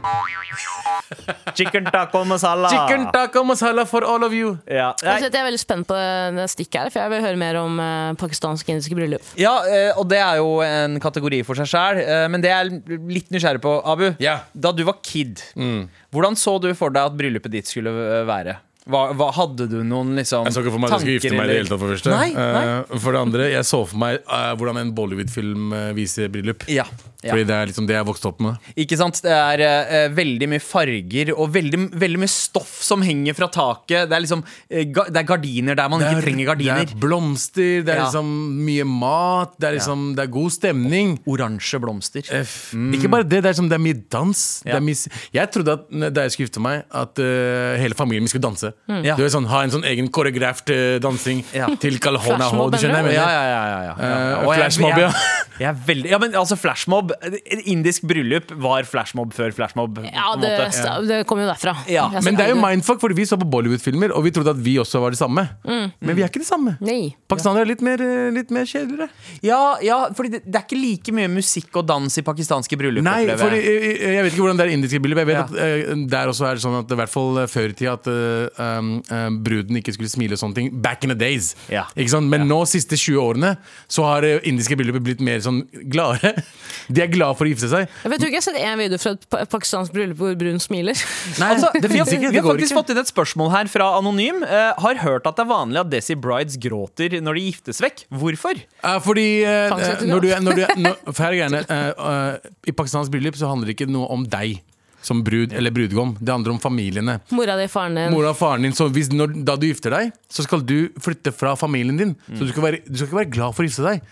S2: Chicken taco masala.
S3: Chicken taco masala for all of you.
S2: ja.
S1: Jeg setter- jeg er veldig spent på det stikket her, for jeg vil høre mer om eh, pakistansk-indiske bryllup.
S2: Ja, eh, og det er jo en kategori for seg sjæl, men det jeg er litt nysgjerrig på, Abu.
S3: Ja. Mm.
S2: Da du var kid, hvordan så du for deg at bryllupet ditt skulle eh, være? Hva, hva Hadde du noen liksom,
S3: Jeg så ikke for meg at jeg skulle gifte meg i det hele tatt, for det første.
S2: Nei, nei.
S3: Eh, for det andre, jeg så for meg eh, hvordan en Bollywood-film eh, viser bryllup.
S2: Ja, ja.
S3: Fordi det er liksom det jeg vokste opp med.
S2: Ikke sant? Det er eh, veldig mye farger og veldig, veldig mye stoff som henger fra taket. Det er liksom eh, ga, Det er gardiner der man
S3: Det er-
S2: ikke trenger
S3: Det
S2: gardiner.
S3: er blomster, det er
S2: Ja.
S3: liksom mye mat, det er liksom Det er god stemning.
S2: Oransje blomster.
S3: F. Ikke bare det, det er, som, det er mye dans.
S2: Mm.
S3: Det
S2: Ja.
S3: er mye, s- jeg trodde at n- da jeg skulle gifte meg, at eh, hele familien min skulle danse.
S2: Mm. Ja.
S3: Du vet, sånn, Ha en sånn egen koreografert eh, dansing
S2: Ja.
S3: til Kalhona H.
S1: Flashmob,
S3: Du skjønner hva jeg
S2: Ja,
S3: mener?
S2: ja, ja, ja, ja. ja.
S3: Eh,
S2: Og jeg-
S3: flashmob, ja.
S2: jeg- Jeg er veldig, ja, men altså flashmob et Indisk bryllup var flashmob før flashmob.
S1: Ja,
S2: på en
S1: det,
S2: måte.
S1: det kommer jo derfra.
S2: Ja,
S1: Jeg
S3: Men
S1: ser
S3: det er jo
S1: aldri-
S3: mindfuck, fordi vi så på Bollywood-filmer, og vi trodde at vi også var det samme.
S2: Mm.
S3: Men vi er ikke det samme.
S1: Nei.
S3: Pakistanere er litt mer, eh, litt mer kjedeligere.
S2: Ja, ja fordi det, det er ikke like mye musikk og dans i pakistanske bryllup.
S3: Nei,
S2: opplever
S3: fordi,
S2: jeg.
S3: eh, jeg vet ikke hvordan det er i indiske bryllup. Jeg vet
S2: Ja.
S3: at eh, der også er det sånn at i hvert fall eh, før i tida at eh, um, um, bruden ikke skulle smile og sånne ting. Back in the days.
S2: Ja.
S3: Ikke sant? Men nå, siste 20 årene, så har eh, indiske bryllup blitt mer sånn gladere. De er glade for å gifte seg.
S1: Jeg vet jo ikke, jeg har sett en video fra et pa- pakistansk bryllup hvor brun smiler.
S2: Altså,
S3: det
S2: vi har,
S3: finnes ikke.
S2: vi
S3: Det
S2: har
S3: går
S2: faktisk
S3: ikke.
S2: fått inn et spørsmål her fra Anonym. Eh, har hørt at det er vanlig at Desi Brides gråter når de giftes vekk. Hvorfor?
S3: Eh, fordi eh,
S1: Tvangsekteskap.
S3: når du, er- når du, er- når, for her er greiene, eh, eh, I pakistansk bryllup så handler det ikke noe om deg som brud eller brudgom. Det handler om familiene.
S1: Mora di, faren din.
S3: Mora og faren din, så hvis, når, Da du gifter deg, så skal du flytte fra familien din. Så du skal, være, du skal ikke være glad for å gifte deg.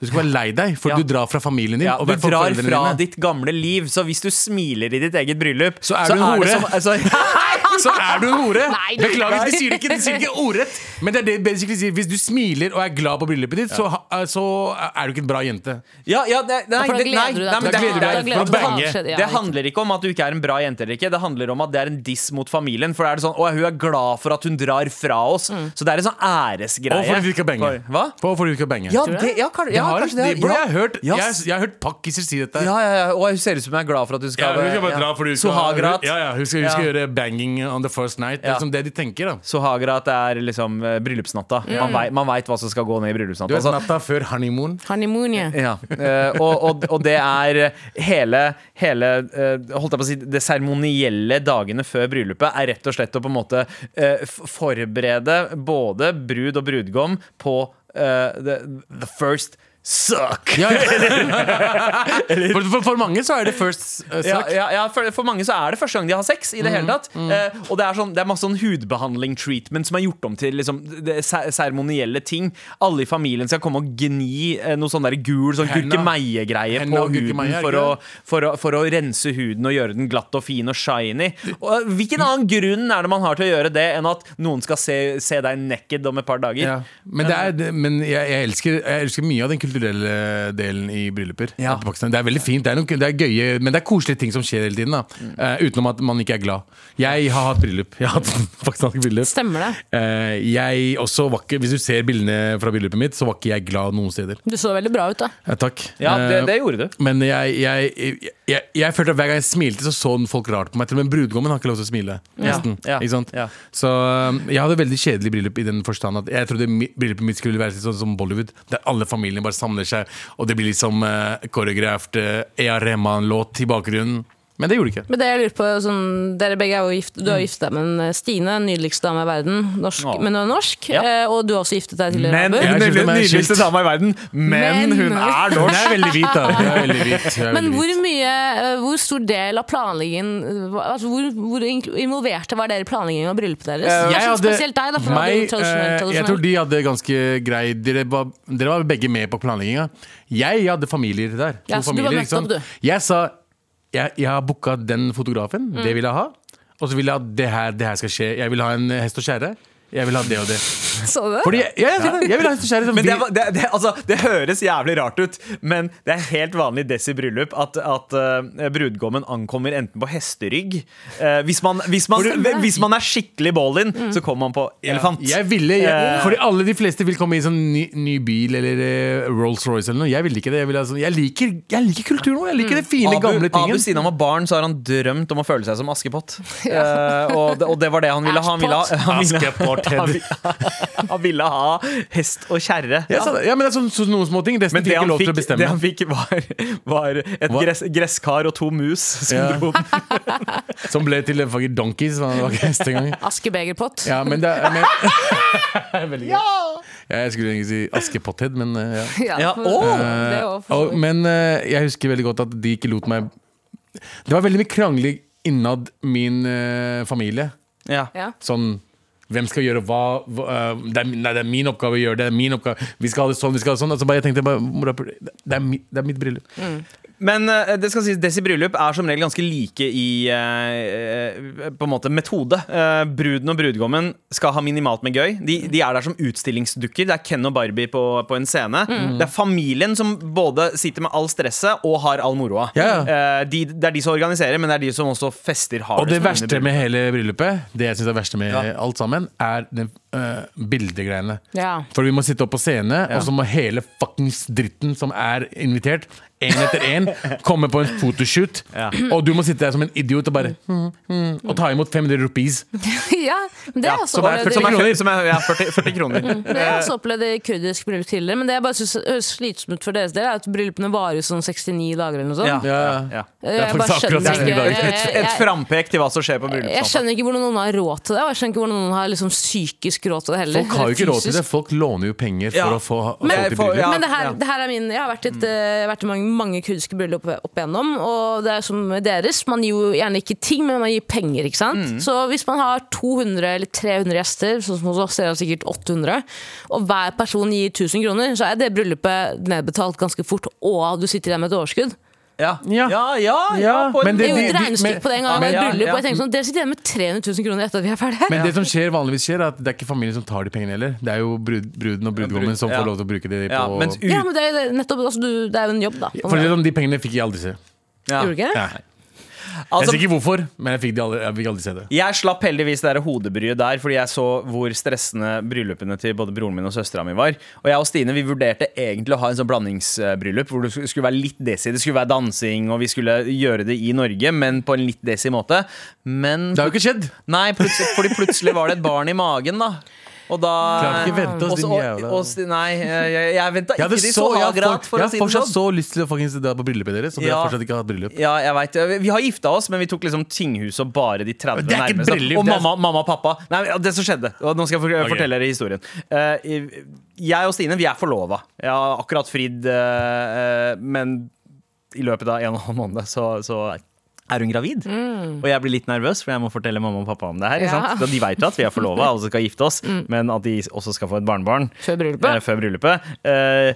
S3: Du skal være lei deg, for
S2: Ja.
S3: du drar fra familien din.
S2: Ja,
S3: og
S2: du
S3: hvert fall
S2: drar
S3: foreldrene
S2: fra
S3: dine.
S2: ditt gamle liv, så hvis du smiler i ditt eget bryllup
S3: Så er du en hore.
S2: det som- altså,
S3: Så er du en hore!
S1: Nei, du-
S3: Beklager, de sier det ikke, de sier det ikke ordrett. Men det er det basically sier. Hvis du smiler og er glad på bryllupet ditt, så, ha- eh, så er du ikke en bra jente.
S2: ja, ja, det, nei,
S1: For da
S2: det, nei,
S1: gleder du
S2: nei,
S1: deg
S2: men
S1: til
S2: det,
S1: å
S3: gleder du
S1: ta- da
S3: deg
S1: gleder du
S2: det,
S3: til å
S1: deg til å
S3: bange.
S1: avskjed, ja,
S2: det
S1: riktig.
S2: handler ikke om at du ikke er en bra jente eller ikke. Det handler om at det er en diss mot familien. For da er det sånn, å, hun er glad for at hun drar fra oss.
S1: Mm.
S2: Så det er en sånn æresgreie.
S3: Og fordi du ikke har banger.
S2: Hva?
S3: For, fordi du ikke har banger.
S2: Ja,
S1: Tror du
S2: det, ja, kan- ja,
S3: har,
S2: kanskje det.
S3: bro,
S2: ja.
S3: jeg, har hørt,
S2: Ja,
S3: jeg, jeg har hørt pakkiser si dette.
S2: Ja, ja, ja. Og hun ser ut som hun er glad for at du skal Sohagrat.
S3: Ja, ja, hun skal, hun skal
S2: Ja.
S3: gjøre banging on the first night. Det
S2: Ja.
S3: er liksom det de tenker, da.
S2: Sohagrat er liksom eh, bryllupsnatta. Man, vei, man veit hva som skal gå ned i
S3: Du
S2: bryllupsnatta.
S3: vet,
S2: Altså,
S3: natta før honeymoon.
S1: Honeymoon, ja.
S2: ja. eh, og, og, og det er eh, hele, hele eh, Holdt jeg på å si Det seremonielle dagene før bryllupet er rett og slett å på en måte eh, f- forberede både brud og brudgom på eh, the, the first suck.
S3: Ja, ja. for, for, for mange så er det first uh,
S2: Ja,
S3: suck.
S2: ja, ja for, for mange så er det første gang de har sex. I det
S3: Mm,
S2: hele tatt eh, Og det er, sånn, det er masse sånn hudbehandling-treatment som er gjort om til liksom, det se- seremonielle ting. Alle i familien skal komme og gni eh, noe sånn der gul sånn
S3: Henna.
S2: gurkemeie-greie
S3: Henna
S2: på
S3: og
S2: huden
S3: gurkemeie, er
S2: for å,
S3: ikke
S2: for, å, for å rense huden og gjøre den glatt og fin og shiny. Og, eh, hvilken annen grunn er det man har til å gjøre det, enn at noen skal se, se deg naked om et par dager?
S3: Ja. Men, det er, det- men jeg, jeg, elsker, jeg elsker mye av den kulturelle delen i brylluper.
S2: Ja.
S3: på Pakistan. Det er veldig fint, det er, noe, det er gøye, men det er koselige ting som skjer hele tiden. Da. Eh, utenom at man ikke er glad. Jeg har hatt bryllup. Jeg har hatt pakistansk bryllup.
S1: Stemmer det.
S3: Eh, jeg også var ikke, Hvis du ser bildene fra bryllupet mitt, så var ikke jeg glad noen steder.
S1: Du så veldig bra ut, da.
S3: Eh, takk.
S2: Ja, det,
S3: Eh,
S2: det gjorde du.
S3: Men jeg, jeg, jeg, jeg, jeg følte at hver gang jeg smilte, så så folk rart på meg. Til og med brudgommen har ikke lov til å smile. Nesten,
S2: Ja, ja,
S3: ikke sant?
S2: ja.
S3: Så um, jeg hadde veldig kjedelig bryllup i den forstand at jeg trodde mi- bryllupet mitt skulle være litt sånn som Bollywood, der alle familiene bare samler seg, og det blir liksom uh, koreografert uh, Ea Rehman-låt i bakgrunnen. Men det gjorde det ikke.
S1: Men det jeg lurer på, sånn, dere begge er jo gift, Du
S3: Mm.
S1: har giftet deg med en eh, Stine, den nydeligste dame i verden. Norsk,
S2: Ja.
S1: men hun er norsk.
S2: Ja.
S1: eh, Og du har også giftet deg tidligere. Abu.
S3: Jeg skjønte meg skilt.
S2: dama i verden,
S1: Men-
S3: Hun er veldig hvit, da. Hun er veldig hvit. Hun
S1: Men
S3: er veldig
S1: hvor,
S3: hvit.
S1: mye, eh, hvor stor del av planleggingen eh, hva- altså hvor, hvor in- involverte var dere i planleggingen av bryllupet deres?
S3: Eh, Jeg
S1: Kanskje
S3: hadde-
S1: altså, spesielt deg, da, for
S3: meg,
S1: du er jo tradisjonell.
S3: eh, Jeg
S1: tradisjonell.
S3: tror de hadde ganske grei Dere var, dere var begge med på planlegginga. Jeg hadde familier der. to
S1: Ja, så du var
S3: familier,
S1: møtt opp, du.
S3: Jeg sa jeg, jeg har booka den fotografen.
S1: Mm.
S3: Det vil jeg ha. Og så vil jeg at det her, det her skal skje. Jeg vil ha en hest og kjerre. Jeg vil ha det og det.
S1: Så du det?
S3: Fordi jeg, jeg, jeg, jeg vil ha hest og kjerre. som
S2: Men
S3: vi-
S2: det, var- det, det, altså, det høres jævlig rart ut, men det er helt vanlig i Desi bryllup at, at eh, brudgommen ankommer enten på hesterygg eh, hvis, man, hvis, man, hvis man er skikkelig ballin, så kommer man på elefant.
S3: Jeg ville, jeg,
S2: Eh.
S3: fordi alle de fleste vil komme i sånn ny, ny bil eller eh, Rolls-Royce eller noe. Jeg vil ikke det. Jeg, vil ha sånn, jeg, liker, jeg liker kultur nå. Jeg liker det fine, gamle
S2: Mm. Abu, Abu
S3: tingen.
S2: siden han var barn, så har han drømt om å føle seg som Askepott. Eh, og, det, og det var det han ville ha. Han ville ha, han ville, han ville, han ville ha hest og kjerre.
S3: Ja, så, ja, men det er sånn, sånn noen små ting. Resten
S2: Men det
S3: fikk ikke
S2: han
S3: lov
S2: fikk,
S3: til å
S2: det
S3: bestemme.
S2: han fikk var, var et
S3: Hva?
S2: gress, gresskar og to mus som
S3: Ja.
S2: dro
S3: Som ble til en fucking donkeys. men det var ikke hest engang.
S1: Askebegerpott.
S3: Ja, men det er men... Veldig gøy. Ja, jeg skulle egentlig si Askepotthead, men eh, ja.
S2: Ja,
S1: for-
S2: åh!
S1: det er jo
S3: Eh,
S1: for så
S3: og,
S1: vidt.
S3: men eh, jeg husker veldig godt at de ikke lot meg Det var veldig mye krangling innad min eh, familie.
S2: Ja.
S1: Ja.
S3: Sånn hvem skal gjøre hva? hva eh, det, er, nei, det er min oppgave å gjøre det. det er min oppgave Vi skal ha det sånn, vi skal ha det sånn. Altså, bare, jeg tenkte bare, mora, det, er mi, det er mitt bryllup.
S1: Mm.
S2: Men eh, det skal sies, Desi bryllup er som regel ganske like i eh, eh, På en måte metode. Eh, bruden og brudgommen skal ha minimalt med gøy. De, de er der som utstillingsdukker. Det er Ken og Barbie på, på en scene. Det er familien som både sitter med all stresset og har all moroa.
S3: Ja,
S2: Eh, de, det er de som organiserer, men det er de som også fester hardest.
S3: Og det
S2: under
S3: verste
S2: bryllupet.
S3: med hele bryllupet, det jeg synes er verste med
S2: Ja.
S3: alt sammen, er den øh, bildegreiene.
S1: Ja.
S3: For vi må sitte opp på scene, og så må hele fuckings dritten som er invitert, én etter én kommer på en photoshoot, og du må sitte der som en idiot og bare
S2: Mm.
S3: mm, Og ta imot 500 rupees.
S1: ja, men det har jeg også
S2: som er,
S1: opplevd
S2: som
S1: i-
S2: er, som er ja, 40, 40 kroner.
S1: det har jeg
S3: Eh.
S1: også opplevd i kurdisk bryllup tidligere. Men det jeg bare synes høres slitsomt ut for deres del, er at bryllupene varer jo sånn 69 dager eller noe sånt. Eh,
S2: Ja, ja, ja.
S3: er
S1: Jeg bare
S3: faktisk akkurat
S1: skjønner
S3: 69
S1: ikke
S3: dager.
S1: jeg- Eh, jeg-
S2: Et
S1: jeg-
S2: frampek til hva som skjer på
S1: Jeg
S2: bryllupsnatta.
S1: skjønner ikke hvordan noen har råd til det, og jeg skjønner ikke hvordan noen har liksom psykisk råd til det heller.
S3: Folk har jo ikke råd til
S1: Fysisk.
S3: det. Folk låner jo penger
S2: Ja.
S3: for å få
S2: Men-
S3: folk i bryllup.
S2: Ja,
S1: Men det her,
S2: ja.
S1: det her er min Jeg har vært, i et, eh, vært i mange, mange kurdiske bryllup opp, opp igjennom, og det er som med deres. Man gir jo gjerne ikke ting, men man gir penger, ikke sant.
S3: Mm.
S1: Så hvis man har 200 eller 300 gjester, sånn som hos oss, er det sikkert 800, og hver person gir 1000 kroner, så er det bryllupet nedbetalt ganske fort, og du sitter igjen med et overskudd.
S2: Ja, ja, ja.
S3: Ja,
S2: på en-
S3: men
S1: Det
S3: det-
S1: er jo
S3: de-
S1: et
S3: de-
S1: regnestykke
S3: men-
S1: på det en gang, med
S2: Ja,
S1: et
S2: ja,
S1: bryllup,
S2: ja.
S1: og jeg tenker sånn, dere sitter igjen med 300 000 kroner etter at vi er ferdige.
S3: Men det som skjer vanligvis skjer, er at det er ikke familien som tar de pengene heller. Det er jo brud, bruden og brudgommen som
S2: ja.
S3: får lov til å bruke det på
S2: ja, mens ut,
S1: Ja, men det er, det er nettopp, altså, du, det er jo en jobb, da. på en
S3: For å si
S1: måte.
S3: det sånn, de pengene fikk jeg aldri se.
S2: ja.
S1: Gjorde du ikke det?
S3: Nei. Jeg
S2: Altså,
S3: vet ikke hvorfor, men jeg fikk, de aldri, jeg fikk aldri se det.
S2: Jeg slapp heldigvis det der hodebryet der, fordi jeg så hvor stressende bryllupene til både broren min og søstera mi var. Og jeg og Stine vi vurderte egentlig å ha en sånn blandingsbryllup, hvor det sk- skulle være litt desi. Det skulle være dansing, og vi skulle gjøre det i Norge, men på en litt desi måte. Men
S3: Det har jo ikke skjedd!
S2: Nei, plutselig, fordi plutselig var det et barn i magen, da. Og da
S3: Klarer ikke vente oss,
S2: Og så-
S3: din jævla-
S2: og, og, Sti- Nei, jeg, jeg venta ikke
S3: Jeg hadde
S2: de
S3: så,
S2: så
S3: jeg har
S2: agrat,
S3: fort-
S2: for å
S3: jeg har
S2: si det
S3: fortsatt
S2: sånn.
S3: så lyst til å faktisk dra på bryllupet deres, og dere
S2: Ja.
S3: har fortsatt ikke hatt bryllup.
S2: Ja, jeg vet. Vi har gifta oss, men vi tok liksom tinghuset og bare de 30
S3: Det er ikke
S2: nærmeste.
S3: bryllup,
S2: og
S3: det er-
S2: mamma, mamma og pappa. Nei, ja, det som skjedde. Og nå skal jeg for
S3: Ok.
S2: fortelle dere historien. Eh, jeg og Stine vi er forlova. Jeg har akkurat fridd, eh, eh, men i løpet av en og en halv måned så, så er hun gravid. Og jeg blir litt nervøs, for jeg må fortelle mamma og pappa om det her. ikke
S1: Mm. Ja. Mm.
S2: Sant? De veit jo at vi er forlova og skal gifte oss, men at de også skal få et barnebarn
S1: Før bryllupet.
S2: eh, før bryllupet. Eh,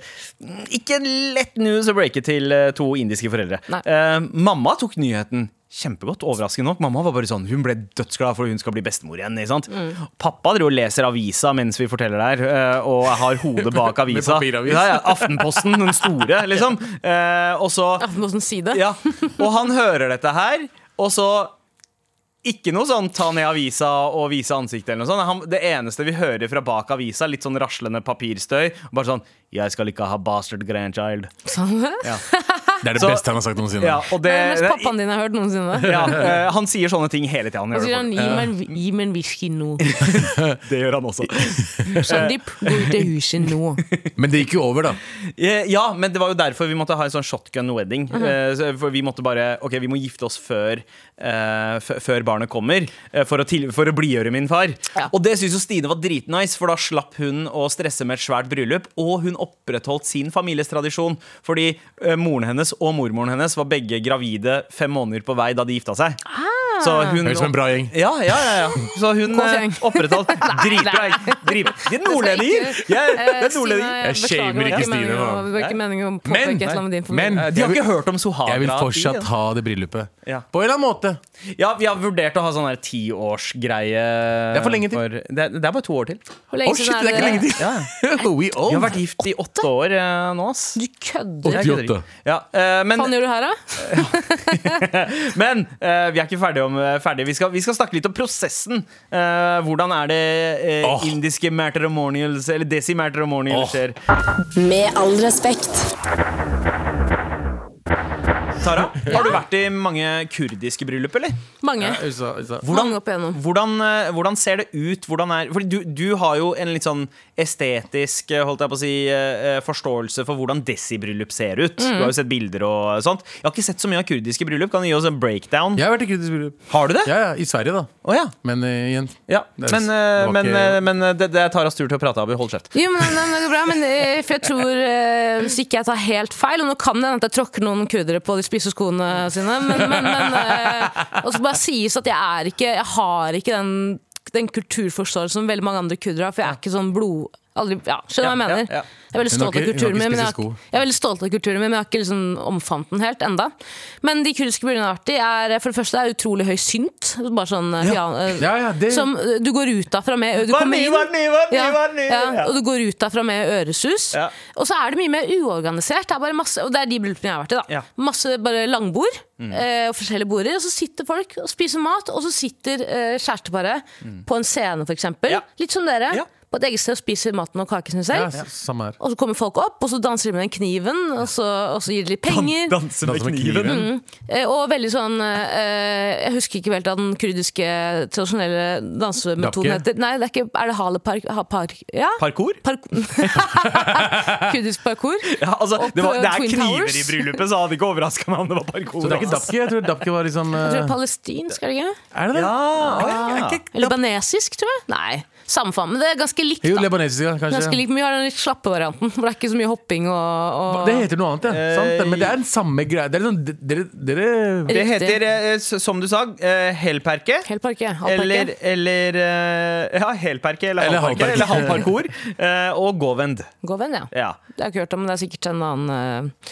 S2: ikke en lett news å breake til eh, to indiske foreldre.
S1: Nei.
S2: Eh, mamma tok nyheten kjempegodt, overraskende nok. Mamma var bare sånn, hun ble dødsglad for hun skal bli bestemor igjen. Ikke sant?
S3: Mm.
S2: Pappa driver og leser avisa mens vi forteller der, eh, og har hodet bak
S3: Med
S2: avisa.
S3: papiravis.
S2: Ja, ja, Aftenposten, den store, liksom. Eh, og så
S1: Aftenpostens side.
S2: ja, og han hører dette her, og så ikke noe sånn ta ned avisa og vise ansiktet eller noe sånt. Han, det eneste vi hører fra bak avisa, litt sånn raslende papirstøy, bare sånn 'Jeg skal ikke ha bastard grandchild'.
S1: Sånn.
S3: Det er det
S2: Så-
S3: beste han har sagt noensinne.
S2: Ja, og
S1: Det er det
S2: det,
S1: mest pappaen din har hørt noensinne.
S2: ja, eh, han sier sånne ting hele tida.
S1: Og så sier han
S2: Det,
S1: gi meg, en- gi meg en whisky nå.
S2: det gjør han også.
S1: Sandeep, gå ut av huset nå.
S3: Men det gikk jo over, da.
S2: Eh, Ja, men det var jo derfor vi måtte ha en sånn shotgun wedding.
S1: Mhm.
S2: Eh, så- For vi måtte bare Ok, vi må gifte oss før, eh, f- før barnet kommer, eh, for å, til, for å blidgjøre min far.
S1: Ja.
S2: Og det syns jo Stine var dritnice, for da slapp hun å stresse med et svært bryllup. Og hun opprettholdt sin families tradisjon, fordi eh, moren hennes og mormoren hennes var begge gravide fem måneder på vei da de gifta seg.
S1: Ah.
S2: Så hun
S3: Høres ut som liksom en bra gjeng.
S2: ja, ja, ja, ja. Så hun
S1: Kåss
S2: eh,
S1: gjeng.
S2: opprettholdt Dritbra.
S1: nei.
S2: Drit. De er nordlendinger! Jeg,
S1: Eh,
S2: jeg er nordlendinger.
S3: Jeg shamer ikke Stine, da.
S1: Det var ikke meningen å påpeke
S2: Men-
S1: et eller annet med din
S3: Men-
S1: familie.
S2: Eh, De har
S3: Jeg
S2: ikke hørt om Sohara.
S3: Jeg vil
S2: i-
S3: fortsatt ha det bryllupet.
S2: Ja.
S3: På en eller annen måte.
S2: Ja, Vi har vurdert å ha sånn her tiårsgreie.
S3: Det er for lenge til.
S2: det, er, det er bare to år til.
S1: Hvor
S3: Å
S1: lenge
S3: shit,
S1: siden
S3: det er ikke lenge til! We
S2: Vi
S3: old.
S2: har vært gift i åtte år eh, nå, ass.
S1: Du kødder!
S2: Jeg
S1: Hva
S2: kødder
S3: 88.
S2: ikke. Ja, eh, men
S1: faen gjør du her, da?
S2: men eh, vi er ikke ferdige. Om, eh, ferdige. Vi, skal, vi skal snakke litt om prosessen. Eh, hvordan er det eh,
S3: Åh.
S2: indiske matrimonials, eller desi matrimonials,
S3: Åh.
S2: skjer?
S4: Med all respekt.
S2: Tara, har du vært i mange kurdiske bryllup, eller?
S1: Mange.
S3: USA, USA.
S1: Mange opp igjennom.
S2: Hvordan, eh, hvordan ser det ut? Hvordan er, fordi du, du har jo en litt sånn estetisk eh, holdt jeg på å si, eh, eh, forståelse for hvordan desibryllup ser
S1: Mm.
S2: ut. Du har jo sett bilder og sånt. Jeg har ikke sett så mye av kurdiske bryllup. Kan du gi oss en breakdown?
S3: Jeg har vært i kritisk bryllup.
S2: Har du det?
S3: Ja, ja, I Sverige, da.
S2: Å, ja.
S3: Men eh, igjen
S2: Ja,
S3: Det er-
S2: men,
S3: det
S2: eh,
S3: var
S2: men,
S3: ikke-
S2: eh, men eh, det, det er Taras tur til å prate, Abu. Hold kjeft.
S1: Jo, men, nei, nei, det går bra, men eh, for jeg tror eh, Hvis ikke jeg tar helt feil, og nå kan det hende at jeg tråkker noen kurdere på de spisse skoene sine, men, men, men eh, Og så bare sies at jeg er ikke Jeg har ikke den, den kulturforståelsen som veldig mange andre kurdere har, for jeg er ikke sånn blod... Aldri, ja, skjønner du hva
S2: Ja,
S1: jeg mener?
S2: ja, ja.
S1: Jeg er veldig
S3: Hun har
S1: stolt av
S3: ikke- hun har
S1: kulturen min, men
S3: ikke
S1: jeg,
S3: spisse
S1: har-
S3: sko.
S1: jeg er veldig stolt av kulturen min, men jeg har ikke liksom omfavnet den helt enda. Men de kurdiske brylene er artig. Er, for det første er det utrolig høy synt. Bare sånn eh, piano, eh,
S3: Ja, ja, det-
S1: Som eh, du går ut derfra med. Du
S2: Var
S1: kommer
S2: ny,
S1: inn-
S2: var ny, var ny,
S1: ja,
S2: var ny.
S1: ja,
S2: Ja.
S1: og du går ut derfra med øresus.
S2: Ja.
S1: Og så er det mye mer uorganisert. Det er bare masse, og det er de bryllupene jeg har vært i. da
S2: Ja. Mm.
S1: Masse bare langbord eh, og forskjellige border. Og så sitter folk og spiser mat, og så sitter eh, kjæresteparet på en scene, f.eks.
S2: Mm. Ja.
S1: Litt som dere.
S2: Ja.
S1: på et eget sted og spiser maten og kaken sin selv.
S3: Ja, s- samme her.
S1: Og så kommer folk opp, og så danser de med den kniven, og så, og så gir de litt penger.
S2: Danse med
S3: Danse Altså, med
S2: kniven. Mm.
S3: kniven.
S1: Eh, Og veldig sånn eh, Jeg husker ikke helt hva den kurdiske tradisjonelle dansemetoden
S3: Dakke?
S1: heter. Nei, det er ikke Er det halepark? Ha, park, ja?
S2: Parkour?
S1: Park Kurdisk parkour.
S2: Ja, altså,
S1: Og
S2: det, var,
S1: på
S2: det er
S1: Twin
S2: kniver
S1: Towers.
S2: i bryllupet, så det hadde ikke overraska meg om det var parkour.
S3: Så det er ikke
S2: ass.
S3: Dapke? Jeg tror Dapke var liksom
S1: Jeg tror det
S3: eh,
S1: er palestinsk, er det ikke?
S3: Er det det?
S2: Ja,
S3: Er
S2: ja.
S3: det ikke-
S1: Eller Libanesisk, tror jeg. Nei, samme faen, men det er ganske likt.
S3: Jo,
S1: da.
S3: libanesisk, ja,
S1: Ganske
S3: kanskje.
S1: likt, men vi har den litt slappe varianten, for det er ikke så mye hopping og, og
S3: Det heter noe annet, ja. Sant? det, Men det er den samme greia. Det er sånn, dere, dere
S1: Eller-
S2: Det
S1: Riktig.
S2: heter, eh, s- som du sa, eh, helperke.
S1: Helt parke. halvparke.
S2: Eller, eller eh, Ja, helperke eller
S3: Eller
S2: halvparke.
S3: halvparke.
S2: Eller halvparkour. eh, Og gåvend.
S1: Gå venn, ja.
S2: Ja.
S1: Det har jeg ikke hørt om, men det er sikkert en annen uh,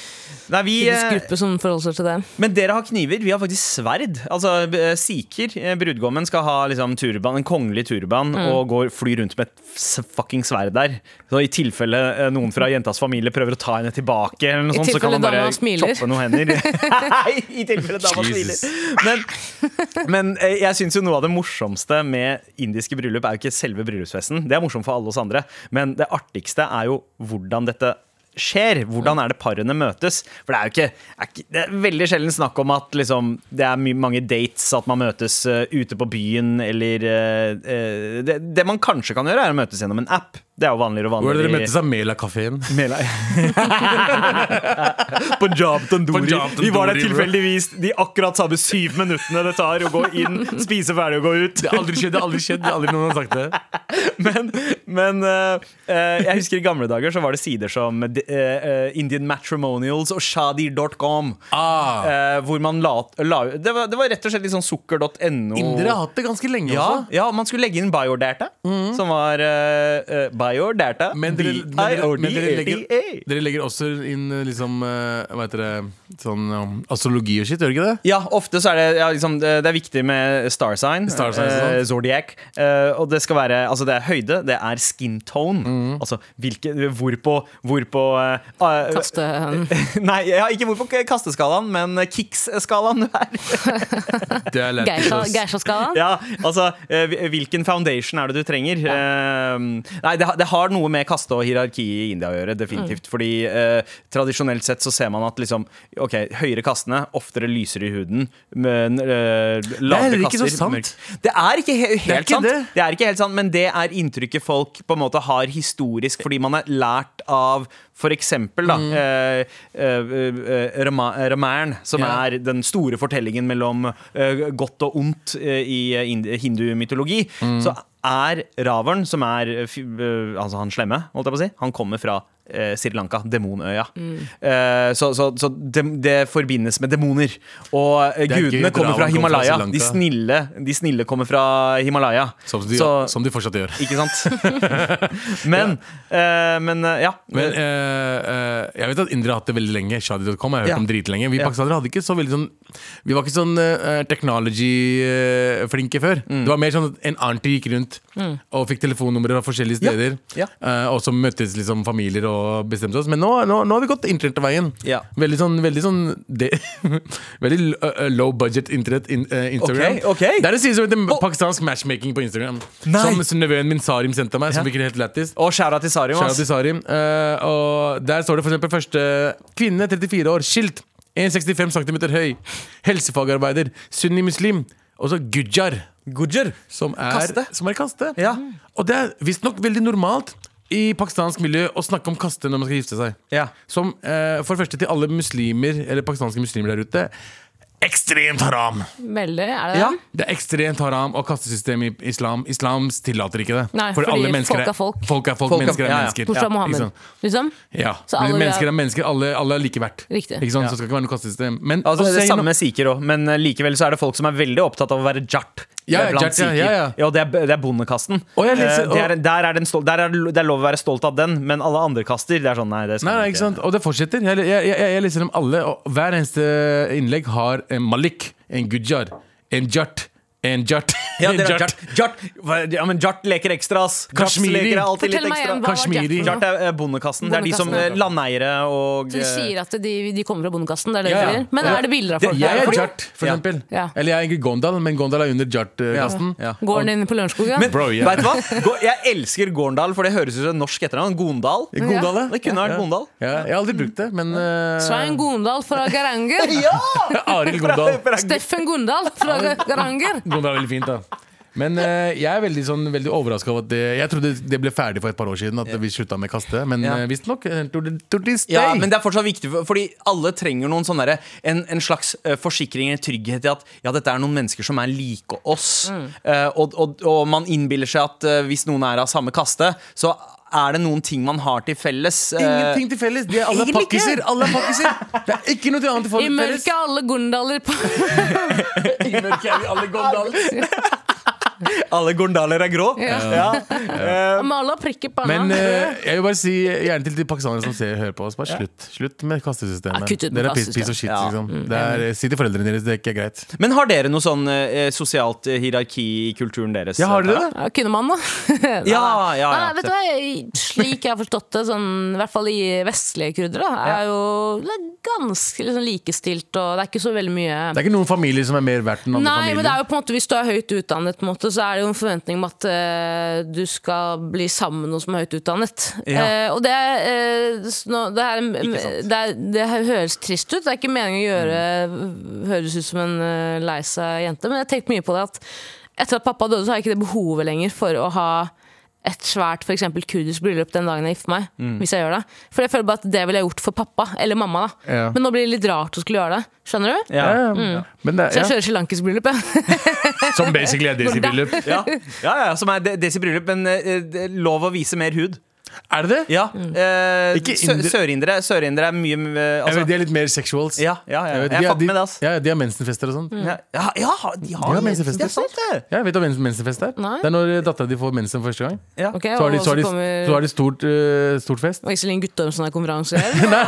S2: Nei, vi, eh,
S1: gruppe som forholder seg til det.
S2: men dere har kniver, vi har faktisk sverd. Altså eh, Sikher, eh, brudgommen, skal ha liksom, turban, en kongelig turban
S1: Mm.
S2: og går, flyr rundt med et s- fucking sverd der. Så I tilfelle eh, noen fra jentas familie prøver å ta henne tilbake, eller noe
S1: I
S2: sånt, så kan
S1: tilfelle
S2: man bare
S1: dama smiler.
S2: choppe noen hender. Nei, I tilfelle dama
S3: Jesus.
S2: smiler. Men, men eh, jeg syns jo noe av det morsomste med indiske bryllup er jo ikke selve bryllupsfesten. Det er morsomt for alle oss andre, men det artigste er jo hvordan dette skjer. Hvordan er det parene møtes? For det er jo ikke, er ikke Det er veldig sjelden snakk om at liksom, det er my mange dates, at man møtes eh, ute på byen eller eh, eh, det, det man kanskje kan gjøre, er å møtes gjennom en app. Det er jo vanligere og
S3: Hvor er det
S2: vanligere.
S3: dere møttes av Mela-kafeen?
S2: Mela. Punjab Tandori.
S3: Punjab Tandoori,
S2: Vi var der
S3: bro.
S2: tilfeldigvis de akkurat samme syv minuttene det tar å gå inn, spise ferdig og gå ut.
S3: Det har aldri skjedd, det har aldri skjedd. det har Aldri noen har sagt det.
S2: Men, men eh, eh, jeg husker i gamle dager så var det sider som eh, eh, Indian Matrimonials og shadir.com.
S3: Ah.
S2: eh, hvor man la, la det, var, det var rett og slett litt sånn sukker.no.
S3: Indere har hatt det ganske lenge
S2: ja,
S3: også. Mhm.
S2: ja, man skulle legge inn biodata, som var eh, eh, biodata.
S3: Men dere, men dere, men dere, legger,
S2: B-I-O-D-A.
S3: dere legger også inn eh, liksom eh, Hva heter det Sånn eh, astrologi og shit, gjør dere ikke det?
S2: Ja, ofte så er det, ja, liksom, det det er viktig med star sign,
S3: Star sign,
S2: eh,
S3: sant.
S2: zodiac. Eh, og det skal være altså det er høyde, det er skin tone.
S3: Mhm.
S2: Altså hvilke, hvor på, hvor på eh, ah,
S1: Kaste en
S2: Nei, ja, ikke hvor på k- kasteskalaen, men kicks-skalaen du er.
S3: Det er lættis,
S1: geisha-
S3: ass.
S1: geisha-skala.
S2: Ja, altså, eh, hvil- hvilken foundation er det du trenger? Eh, Nei, det, har- det har noe med kaste og hierarki i India å gjøre, definitivt. Fordi eh, tradisjonelt sett så ser man at liksom, ok, høyere kastene oftere lyser i huden, men eh, lavere
S3: heller ikke
S2: kaster
S3: så sant.
S2: mørk- Det er ikke he helt
S3: ikke
S2: sant.
S3: det.
S2: Det er ikke helt sant, men det er inntrykket folk på en måte har historisk fordi man er lært av for eksempel da,
S3: Mm.
S2: eh, eh, eh, Rama- Ramayana, som
S3: Ja.
S2: er den store fortellingen mellom eh, godt og ondt eh, i ind- hindu-mytologi,
S3: Mm.
S2: så er Ravern, som er eh, fy- eh, altså han slemme, holdt jeg på å si, han kommer fra eh, Sri Lanka, demonøya.
S3: Mm.
S2: Eh, så så, så det, det forbindes med demoner. Og eh,
S3: Det er gøy
S2: gudene
S3: at
S2: kommer
S3: Ravern
S2: fra
S3: kom fra Sri
S2: Himalaya.
S3: Lanka.
S2: De snille, de snille kommer fra Himalaya.
S3: Som de,
S2: Så-
S3: som de fortsatt gjør.
S2: ikke sant? men, eh, men eh, ja.
S3: Men eh, eh, jeg vet at indere har hatt det veldig lenge. Shadi.com har jeg hørt
S2: Ja.
S3: om dritlenge. Vi
S2: Ja.
S3: pakistanere hadde ikke så veldig sånn Vi var ikke sånn eh, technology-flinke før.
S2: Mm.
S3: Det var mer sånn at en auntie gikk rundt og fikk telefonnumre fra forskjellige
S2: Ja.
S3: steder.
S2: Ja.
S3: eh, og så møttes liksom familier og bestemte oss. Men nå, nå, nå har vi gått internettveien.
S2: Ja.
S3: Veldig sånn, veldig, sånn det, veldig l- eh, low budget internett in, eh, Instagram.
S2: Ok, ok.
S3: Det er en side som heter
S2: På-
S3: pakistansk matchmaking på Instagram.
S2: Nei.
S3: Som nevøen min Sarim sendte meg, som virker helt lættis.
S2: og skjæra til Sarium.
S3: Shout out
S2: ass.
S3: til Sari. Eh, og der står det f.eks. første kvinne, 34 år, skilt. 1,65 cm høy. Helsefagarbeider. Sunni-muslim. Og så gujar,
S2: Gujar.
S3: som er
S2: Kaste.
S3: Som er kaste.
S2: Ja.
S3: Og det er visstnok veldig normalt i pakistansk miljø å snakke om kaste når man skal gifte seg.
S2: Ja.
S3: Som eh, for det første til alle muslimer, eller pakistanske muslimer der ute. Ekstremt haram!
S1: Veldig, er det
S2: Ja.
S1: det?
S3: Det er ekstremt haram og kastesystem i islam. Islam tillater ikke det.
S1: Nei,
S3: For
S1: fordi
S3: alle mennesker
S1: folk er folk.
S3: Folk er folk,
S2: Folk er-
S3: mennesker er
S2: ja, ja.
S3: mennesker.
S1: Bortsett fra
S3: Ja, ikke
S1: Mohammed.
S3: sant?
S1: Liksom?
S3: Ja,
S1: Så
S3: men
S1: alle vil
S3: mennesker
S1: ha-
S3: er mennesker, alle, alle er like verdt.
S1: Riktig.
S3: Ikke sant?
S2: Ja.
S3: Så skal det ikke være noe kastesystem. Men
S2: Altså,
S3: Og
S2: det er
S3: se
S2: det samme
S3: gjennom-
S2: med sikher òg, men eh, likevel så er det folk som er veldig opptatt av å være jart.
S3: Ja,
S2: eh,
S3: ja,
S2: blant
S3: jat, ja,
S2: sikher.
S3: ja, ja.
S2: Og det er, det er bondekasten.
S3: Og jeg leser-
S2: Eh, det er, der er den stol- der er det lo- det er lov å være stolt av den, men alle andre kaster. Det er sånn, nei, det skal
S3: Nei,
S2: man
S3: nei, ikke sant? Og det fortsetter. Jeg, jeg, jeg, jeg leser dem alle, og hver eneste innlegg har en malik, en gujar, en jart, En jart.
S2: Ja,
S3: En
S2: dere har
S3: jart.
S2: Jart. Jart. Hva- Ja, men Jart leker ekstra, ass. Jart
S3: Kashmiri.
S2: leker er alltid litt
S1: Fortell meg
S2: ekstra.
S1: igjen, hva var Jack
S3: Kashmiri.
S1: for
S2: Jart
S1: noe?
S2: er eh, bondekassen. Det er de som eh,
S1: Mm. Bondekassen,
S2: landeiere og
S1: Så du
S2: eh,
S1: sier at de, de kommer fra bondekassen? Det er det
S3: Ja, ja.
S1: du sier? Men
S3: Ja.
S1: er det bilder av
S2: Det-
S1: folk
S3: Jeg
S1: der?
S3: er
S1: Fordi-
S3: jart, for
S2: Ja.
S3: eksempel.
S1: Ja.
S3: Eller jeg er egentlig Gondal, men Gondal er under jart-kasten.
S2: Ja.
S1: Går den inn på Lørenskog? ja?
S2: Men
S3: Bro, ja.
S2: vet du hva? Gå- Jeg elsker Gårndal, for det høres ut som et norsk etternavn. Gondal.
S3: Gondal, ja.
S2: Det kunne vært Gondal.
S3: Ja, jeg har aldri brukt det, men eh,
S1: Svein Gondal fra Garanger.
S3: Arild Gondal.
S1: Steffen Gondal fra Garanger.
S3: Gondal er veldig fint, da. Men eh, jeg er veldig, sånn, veldig overraska over at det Jeg trodde det ble ferdig for et par år siden, at vi slutta med kaste, men
S2: Ja.
S3: uh, visstnok. eh, to- to this
S2: Ja,
S3: day.
S2: men det er fortsatt viktig, for- fordi alle trenger noen sånn derre- en, en slags eh, forsikring eller trygghet i at ja, dette er noen mennesker som er like oss.
S1: Mm.
S2: Eh, og, og, og man innbiller seg at eh, hvis noen er av samme kaste, så er det noen ting man har til felles. eh,
S3: Ingenting til felles! De er alle
S2: Egentlig ikke.
S3: pakkiser! Alle er pakkiser. Det er ikke noe til annet til
S1: I
S3: felles.
S1: mørket er alle Gondaler på
S3: I mørket er vi alle Gondal.
S2: Alle gondaler er grå. Ja.
S1: Med alle har prikker på
S3: Men
S1: henne.
S3: eh, jeg vil bare si gjerne til de pakistanere som ser, hører på oss, bare slutt. Slutt med kastesystemet.
S1: Ja, kutt ut med
S3: Dere er
S1: kastesystemet.
S3: piss,
S1: Mm,
S3: piss og shit,
S2: Ja.
S3: liksom. Det er, si til foreldrene deres, det er ikke greit.
S2: Men har dere noe sånn eh, sosialt eh, hierarki i kulturen deres?
S3: Ja, har dere
S2: Tara?
S3: det?
S1: Ja, kunne man, da? Nei,
S2: Ja, ja, ja.
S1: Nei, vet du hva, jeg, slik jeg har forstått det, sånn, i hvert fall i vestlige kurdere, da, er jo det er ganske liksom, likestilt, og det er ikke så veldig mye
S3: Det er ikke noen familier som er mer verdt enn andre
S1: Nei, men det
S3: familier.
S1: er jo på en måte Hvis du er høyt utdannet, på en måte, så er det jo en forventning om at eh, du skal bli sammen med noen som er høyt utdannet.
S2: Ja.
S1: Eh, og det, er, eh, s- nå- det, er,
S2: Ikke sant.
S1: det, er, det her høres trist ut. Det er ikke meningen å gjøre
S3: Mm.
S1: høres ut som en eh, lei seg jente, men jeg har tenkt mye på det at etter at pappa døde, så har jeg ikke det behovet lenger for å ha et svært for eksempel, kurdisk bryllup den dagen jeg gifter meg.
S3: Mm.
S1: Hvis jeg gjør det For jeg føler bare at det ville jeg gjort for pappa eller mamma. da
S3: Ja.
S1: Men nå blir det litt rart å skulle gjøre det. Skjønner du?
S2: Ja.
S3: Ja, ja. Men det
S1: Mm. Så jeg
S3: er,
S1: kjører srilankisk bryllup, jeg.
S3: ja. Som basically er Desi bryllup.
S2: Ja. ja, ja, som er de- Desi bryllup, men eh, det er lov å vise mer hud.
S3: Er det det?
S2: Ja.
S1: Mm.
S2: Eh,
S3: Ikke
S2: sø-
S3: indre-
S2: Sørindere Sørindere er mye eh,
S3: Jeg
S2: altså,
S3: vet, de er litt mer sexuals.
S2: Ja, ja, ja.
S3: Jeg vet,
S2: Jeg
S3: de, er-
S2: fucker
S3: de,
S2: med det, ass. Mm.
S3: ja, de har mensenfester og sånn.
S2: Ja, ja, ja, de har
S3: Ja,
S2: det.
S3: mensenfester.
S2: Det er sant, det.
S3: Ja, vet du hva mens- mensenfest er?
S1: Nei.
S3: Det er når dattera di får mensen for første gang.
S2: Ja.
S1: Ok,
S3: Så har de,
S1: og
S3: så har de,
S1: kommer
S3: så har de stort, eh, stort fest.
S1: Og Iselin Guttormsen har konferanse. Nei,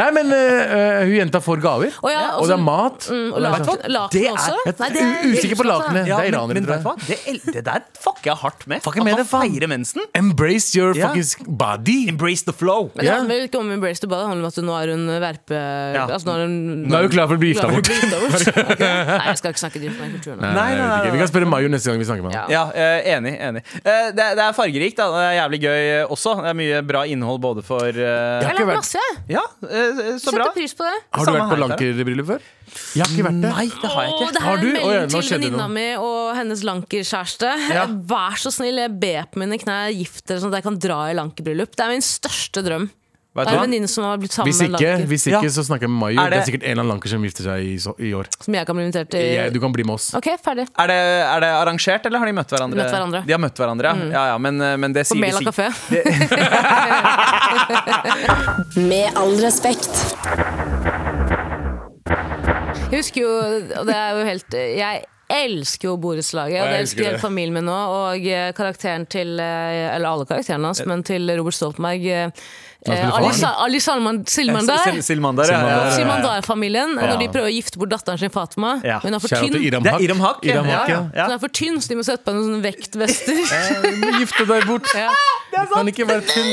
S3: Nei, men eh, eh, hun jenta får gaver.
S1: Å ja,
S3: og
S1: og
S3: det er
S1: så-
S3: mat.
S1: mm, og
S3: Det er
S1: laken,
S3: sånn-
S1: laken også?
S3: Jeg
S1: Nei, det
S3: er u- usikker på lakenet.
S2: Ja,
S3: det er
S2: men-
S3: iranere,
S2: men vet du
S3: tror jeg.
S2: hva? Det, el- det der fucker jeg hardt med.
S3: Fucker
S2: At
S3: med
S2: man
S3: det, faen.
S2: feirer mensen.
S3: Embrace your
S2: Ja.
S3: fucking body.
S2: Embrace the flow.
S1: Men det
S3: Ja.
S1: handler vel ikke om embrace the body, det handler om at nå er hun verpe...
S2: Ja.
S1: Altså nå er hun
S3: Nå er hun klar for å bli gifta bort.
S1: Ok. Nei, jeg skal ikke snakke dritt om den kulturen. nå.
S2: Nei, nei, nei, nei.
S3: Vi kan spørre Mayo neste gang vi snakker med henne.
S1: Ja.
S2: Ja, eh, enig. enig Eh, det, er- det er fargerikt. Da. Det er jævlig gøy eh, også. Det er mye bra innhold både for eh,
S1: Jeg har lært masse, jeg.
S2: Ja, eh, så bra.
S1: Setter pris på det.
S3: Har du
S2: Samme
S3: vært på
S2: her, Tara.
S3: lankerbryllup før? Jeg har ikke vært det.
S2: Nei, det har jeg
S1: Og
S2: ikke.
S1: det
S3: Har
S1: her er
S3: du?
S1: en
S3: Å, ja, nå
S1: melding til
S3: skjedde det
S1: venninna
S3: noe.
S1: mi og hennes lankerkjæreste.
S3: Ja.
S1: Vær så snill, jeg ber på mine knær, gift dere sånn at jeg kan dra i lankerbryllup. Det er min største drøm.
S2: Vet
S1: Det
S2: du
S1: er en
S2: hva?
S1: venninne som har blitt sammen
S3: Hvis
S1: med en
S3: ikke,
S1: lanker,
S3: hvis ikke
S2: Ja.
S3: så snakker jeg med Mayo.
S2: Er
S3: Det...
S2: det-
S3: er sikkert en eller annen lanker som gifter seg i, så, i år.
S1: som jeg kan bli invitert til.
S3: Jeg, du kan bli med oss.
S1: Ok, ferdig.
S2: Er det, er det arrangert, eller har de møtt hverandre?
S1: De møtt hverandre. Mm.
S2: De har møtt hverandre, ja. ja, ja men, eh, men det
S1: På
S2: sier de
S1: Mela
S2: sikkert-
S1: kafé.
S4: Med all respekt.
S1: Jeg husker jo, og det er jo helt Jeg elsker jo borettslaget, og
S3: Jeg
S1: det
S3: elsker
S1: elsker hele
S3: det.
S1: familien min nå. Og eh, karakteren til eh, Eller alle karakterene hans, men til Robert Stoltenberg. eh,
S3: spiller
S1: eh,
S3: faren.
S1: Ali, Sa- Ali Salman
S2: Sil-
S1: Silmandar.
S2: Sil- Silmandar, ja, ja, ja, ja.
S1: Silmandar-familien. og
S3: Ja.
S1: Når de prøver å gifte bort datteren sin Fatima.
S2: Ja.
S1: Men hun er for
S3: Kjære
S1: tynn.
S3: til Iram
S2: Det
S3: Haq.
S2: er Iram Haq.
S3: Iram Haq, ja.
S1: Hun er for tynn, så de må sette på henne sånne vektvester.
S3: Du Eh, må gifte deg bort.
S1: Ja.
S3: Du kan ikke være tynn.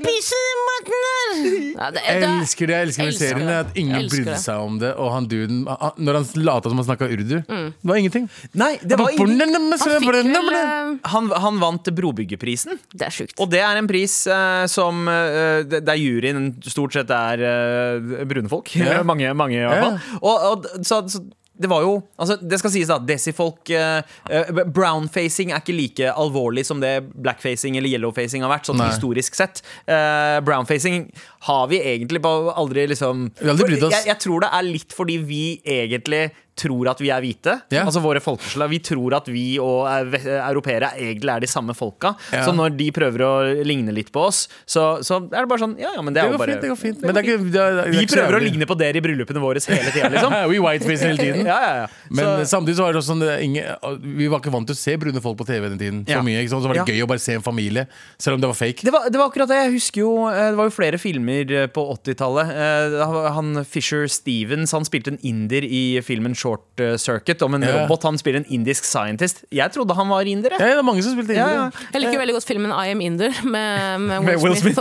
S1: Pisse i maten her! Ja, det,
S3: Jeg
S1: det,
S3: elsker det. Jeg elsker med
S1: Elsker
S3: serien
S1: det.
S3: at ingen
S1: Elsker
S3: brydde
S1: det.
S3: seg om det. Og han duden, han- når han lata som han snakka urdu, det var ingenting.
S2: Nei, det var ingen
S1: han fikk vel eh,
S2: han, han vant Brobyggerprisen,
S1: Det er sjukt.
S2: og det er en pris eh, som eh, det- Der juryen stort sett er eh, brune folk.
S3: Ja.
S2: mange, mange i hvert
S3: Ja.
S2: fall. Og, og, d- så, så det var jo altså, Det skal sies, da. Desi-folk eh, eh, Brownfacing er ikke like alvorlig som det blackfacing eller yellowfacing har vært, sånn
S3: Nei.
S2: historisk sett. Eh, brownfacing har vi egentlig bare aldri liksom
S3: Vi har aldri brydd oss.
S2: Jeg, jeg tror det er litt fordi vi egentlig tror at vi er hvite.
S3: Ja.
S2: Altså våre folkeslag. Vi tror at vi og eh, ve- eh, europeere egentlig er de samme folka.
S3: Ja.
S2: Så når de prøver å ligne litt på oss, så, så er det bare sånn Ja, ja, men det,
S3: Det
S2: er jo
S3: går
S2: bare
S3: fint. det går fint Men det er ikke, det er, det er
S2: Vi
S3: ikke så
S2: prøver å
S3: jævlig.
S2: ligne på dere i bryllupene våre hele tida, liksom.
S3: Ja, We whiteface hele tiden.
S2: Ja, ja, ja.
S3: Men
S2: Så-
S3: eh, samtidig så var det også sånn det er ingen, Vi var ikke vant til å se brune folk på TV den tiden. Så
S2: Ja.
S3: mye, ikke sant? Så var det
S2: Ja.
S3: gøy å bare se en familie, selv om det var fake.
S2: Det var, det var akkurat det. Jeg husker jo eh, Det var jo flere filmer eh, på 80-tallet. Eh, Han Fisher Stevens Han spilte en inder i filmen Short Short eh, Circuit om en
S3: Ja.
S2: robot. Han spiller en indisk scientist. Jeg trodde han var inder. jeg.
S3: Ja, det er mange som spilte
S2: Ja,
S3: indie.
S2: ja.
S1: Jeg liker veldig godt filmen I Am Inder med, med, Will,
S3: eh, Med Will
S1: Smith,
S3: Smith.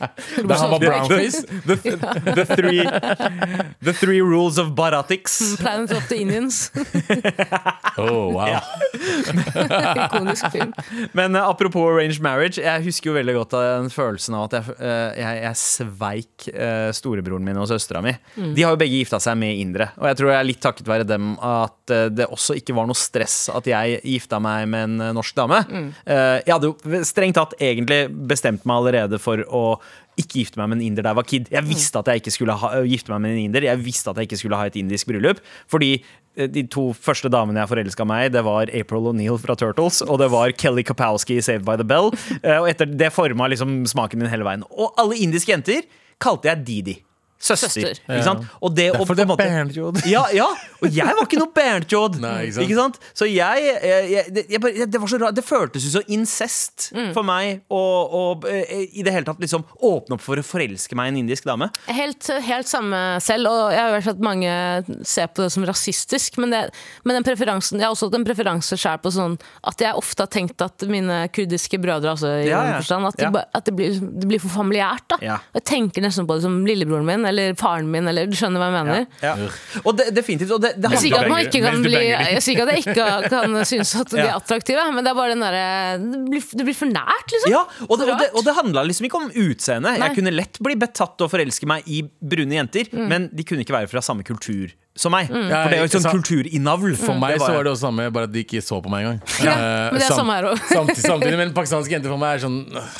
S1: og eh,
S3: Da han var brownface.
S2: The, the, three, the three rules of baratics.
S1: Planet of the Indians.
S3: Oh, wow.
S1: Ikonisk film.
S2: Men eh, apropos arranged marriage, jeg husker jo veldig godt av den følelsen av at jeg, eh, jeg, jeg sveik eh, storebroren min og søstera mi. De har jo begge gifta seg med indere, og jeg tror jeg er litt takket være dem at eh, det også ikke var noe stress at jeg gifta meg med en eh, norsk dame. Eh, jeg hadde jo strengt tatt egentlig bestemt meg allerede for å ikke gifte meg med en inder da jeg var kid. Jeg visste at jeg ikke skulle ha, gifte meg med en inder. Jeg visste at jeg ikke skulle ha et indisk bryllup. Fordi eh, de to første damene jeg forelska meg i, det var April O'Neill fra Turtles, og det var Kelly Kapowski i Saved by the Bell. Eh, Og etter det forma liksom smaken min hele veien. Og alle indiske jenter kalte jeg Didi. Søster.
S1: Søster.
S2: Ikke sant? Og det, og
S3: Derfor
S2: på en
S3: det er
S2: måte-
S3: Berntjod.
S2: ja, ja, og jeg var ikke noe Berntjod.
S3: Nei, ikke sant?
S2: Så jeg, jeg, jeg, det- jeg, bare- Det var så rart. Det føltes ut som incest for meg å å, eh, i det hele tatt liksom åpne opp for å forelske meg i en indisk dame.
S1: Helt, helt samme selv, og jeg har hørt at mange ser på det som rasistisk. Men, det, men den preferansen, jeg har også hatt en preferanse selv på sånn at jeg ofte har tenkt at mine kurdiske brødre altså, i
S2: Ja,
S1: den
S2: ja.
S1: Forstand, at, de,
S2: Ja.
S1: ba- at det, blir, det blir for familiært. Da.
S2: Ja.
S1: Jeg tenker nesten på det som lillebroren min eller faren min. Eller, du skjønner hva jeg mener.
S2: Ja. Og det, definitivt. Og det, det
S1: Jeg sier ikke at, man
S3: banger-
S1: ikke kan
S3: mens du
S1: bli,
S3: banger de.
S1: jeg sier ikke at jeg ikke kan synes at de er
S2: Ja.
S1: attraktive, men det er bare den derre det, blir- det blir for nært, liksom.
S2: Ja, og det,
S1: Så
S2: og det,
S1: rart.
S2: og det handla liksom ikke om utseende.
S1: Nei.
S2: Jeg kunne lett bli betatt og forelske meg i brune jenter, men de kunne ikke være fra samme kultur som meg. For det er jo
S3: ikke
S2: en sånn
S3: sant.
S2: kulturinnavl.
S1: Mm.
S3: For meg så
S2: jeg.
S3: var det også samme, bare at de ikke så på meg engang.
S1: Ja,
S3: Eh,
S1: men det er
S3: sam-
S1: samme her også.
S3: samtidig, samtidig, men pakistanske jenter for meg er sånn øh,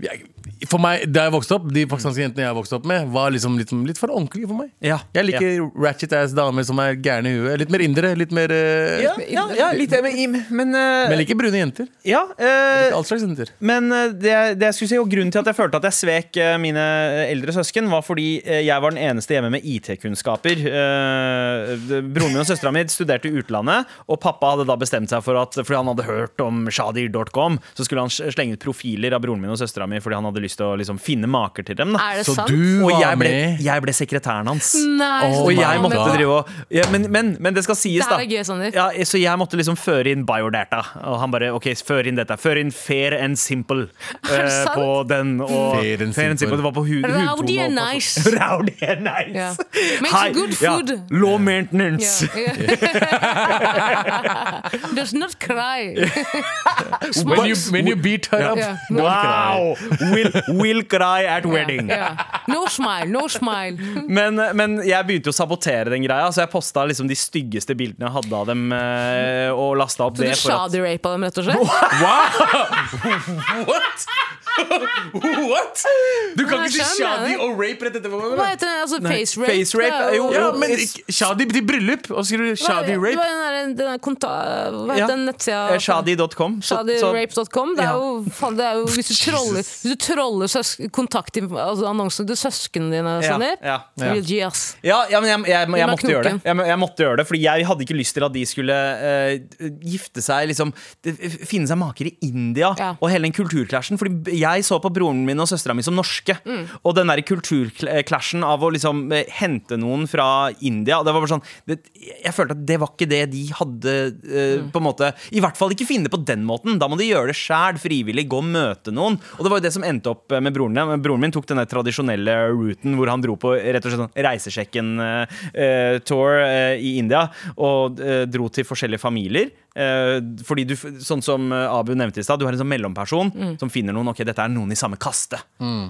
S3: vi er ikke- For meg, Da jeg vokste opp, de pakistanske jentene jeg vokste opp med, var liksom litt, litt for ordentlige for meg.
S2: Ja,
S3: Jeg liker ratchet ass damer som er gærne i huet. Litt mer indere, litt mer eh,
S2: ja, ja, ja, litt det med im, men, eh,
S3: Men ikke brune jenter.
S2: ja, eh,
S3: All slags jenter.
S2: Men eh, det, det jeg skulle si, og grunnen til at jeg følte at jeg svek eh, mine eldre søsken, var fordi eh, jeg var den eneste hjemme med IT-kunnskaper. Eh, det- Broren min og søstera mi studerte i utlandet, og pappa hadde da bestemt seg for at fordi han hadde hørt om shadir.com, så skulle han s- slenge ut profiler av broren min og søstera mi fordi han hadde lyst til å liksom, finne maker til dem. Da.
S1: Er Mm. det
S3: Så
S1: sant?
S3: du
S2: Og
S3: var
S2: jeg ble,
S3: med
S2: jeg ble sekretæren hans.
S1: Nei,
S3: Åh,
S1: så
S2: Og
S1: det
S2: jeg
S1: var-
S2: måtte
S1: men-
S2: drive og ja, men, men, men det skal sies,
S1: Det her
S2: da.
S1: er gøy, Sander.
S2: Ja, så jeg måtte liksom føre inn biodata. Og han bare OK, før inn dette. Før inn fair and simple
S1: Er det
S2: eh,
S1: sant?
S2: på den. Og
S3: Fair and simple.
S2: Det var på hud,
S1: Rowdy
S2: hudtone
S1: and
S2: og alt
S1: nice.
S2: sånt. Rowdy and nice.
S1: Ja. Makes
S2: Hei,
S1: good
S2: ja,
S1: food.
S2: Low maintenance.
S1: Does not cry.
S3: When you, when you beat her up
S1: Yeah.
S3: don't cry.
S2: Wow! Will, will cry at wedding.
S1: Ja, ja. No smile, no smile.
S2: Men, men jeg begynte jo å sabotere den greia, så jeg posta liksom de styggeste bildene jeg hadde av dem. eh, Og lasta opp
S1: Du
S2: det for at
S1: shady-rapa dem, rett og slett?
S3: What? What? Du kan
S1: Nei,
S3: ikke si
S1: skjønner
S3: shadi
S1: jeg.
S3: og rape rett etterpå.
S1: Hva heter det? Altså, face rape?
S2: face
S1: det
S2: rape,
S1: er
S2: jo,
S3: Ja,
S2: jo.
S3: men ikke- shadi til bryllup, og så skriver du
S1: Hva-
S3: shadi
S1: Det var
S3: rape.
S1: den der, den der konta... Hva
S2: Ja.
S1: heter den nettsida?
S2: eh, Shadi.com. så- så-
S1: Shadyrape.com. Det er jo, faen, det er jo hvis du troller,
S3: Jesus.
S1: hvis du troller søs, kontakt, altså annonsene til søsknene dine, Sander.
S2: ja,
S3: ja.
S1: Real G, ass.
S2: Ja, ja men jeg, jeg, jeg,
S1: Under
S2: måtte gjøre det.
S1: knoken.
S2: Jeg, må- jeg måtte gjøre det Fordi jeg hadde ikke lyst til at de skulle eh, gifte seg liksom, det- Finne seg maker i India
S1: Ja.
S2: og hele den kulturklasjen. Fordi jeg så på broren min og søstera mi som norske. Og den der kulturklasjen av å liksom eh, hente noen fra India Det var bare sånn det, Jeg følte at det var ikke det de hadde eh, På en måte I hvert fall ikke finne på den måten. Da må de gjøre det sjæl, frivillig, gå og møte noen. Og det var jo det som endte opp eh, med broren min. Men Broren min tok denne tradisjonelle routen hvor han dro på rett og slett sånn eh, reisesjekken-tour eh, i India. Og eh, dro til forskjellige familier. Eh, fordi du, sånn som eh, Abu nevnte i stad, du har en sånn mellomperson som finner noen. Ok, dette er noen i samme kaste.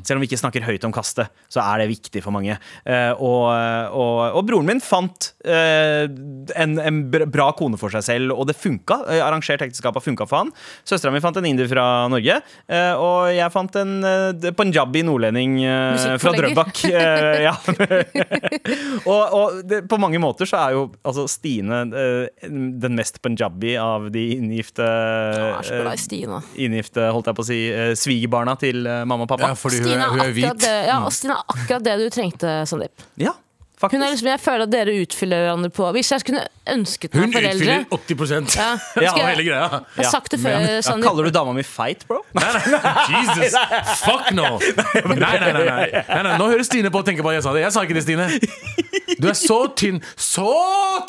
S2: Selv om vi ikke snakker høyt om kaste, så er det viktig for mange. Eh, og, og, og broren min fant eh, en, en br- bra kone for seg selv, og det funka. Eh, Arrangert ekteskap har funka for han. Søstera mi fant en inder fra Norge, eh, og jeg fant en eh, punjabi nordlending eh, fra
S1: Musikkforlegger.
S2: Drøbak. Eh, ja. og og det, på mange måter så er jo altså Stine eh, den mest punjabi av de inngifte
S1: Jeg er så glad i
S2: eh,
S1: Stina.
S2: Inngifte, holdt jeg på å si, eh, svigerbarna til eh, mamma og
S3: Ja,
S2: pappa.
S3: fordi hun
S1: Stina
S3: er, hun
S1: er
S3: er
S1: akkurat
S3: hvit.
S1: det, ja,
S2: Mm.
S1: og Stina er akkurat det du trengte, Sandeep.
S2: Ja,
S1: Hun er
S2: faktisk.
S1: liksom, jeg føler at dere utfyller hverandre på Hvis jeg skulle ønsket meg
S3: Hun
S1: foreldre
S3: utfyller 80
S1: ja,
S2: Ja,
S1: skal
S3: av
S1: jeg, jeg
S3: hele greia.
S1: har sagt det før, eh, Sander.
S2: Kaller du dama mi feit, bro?
S3: Nei, nei, nei, Jesus, fuck no! Nei, nei, nei, nei, nei, nei. Nå hører Stine på og tenker på at jeg sa det. Jeg sa ikke det, Stine. Du er så tynn! Så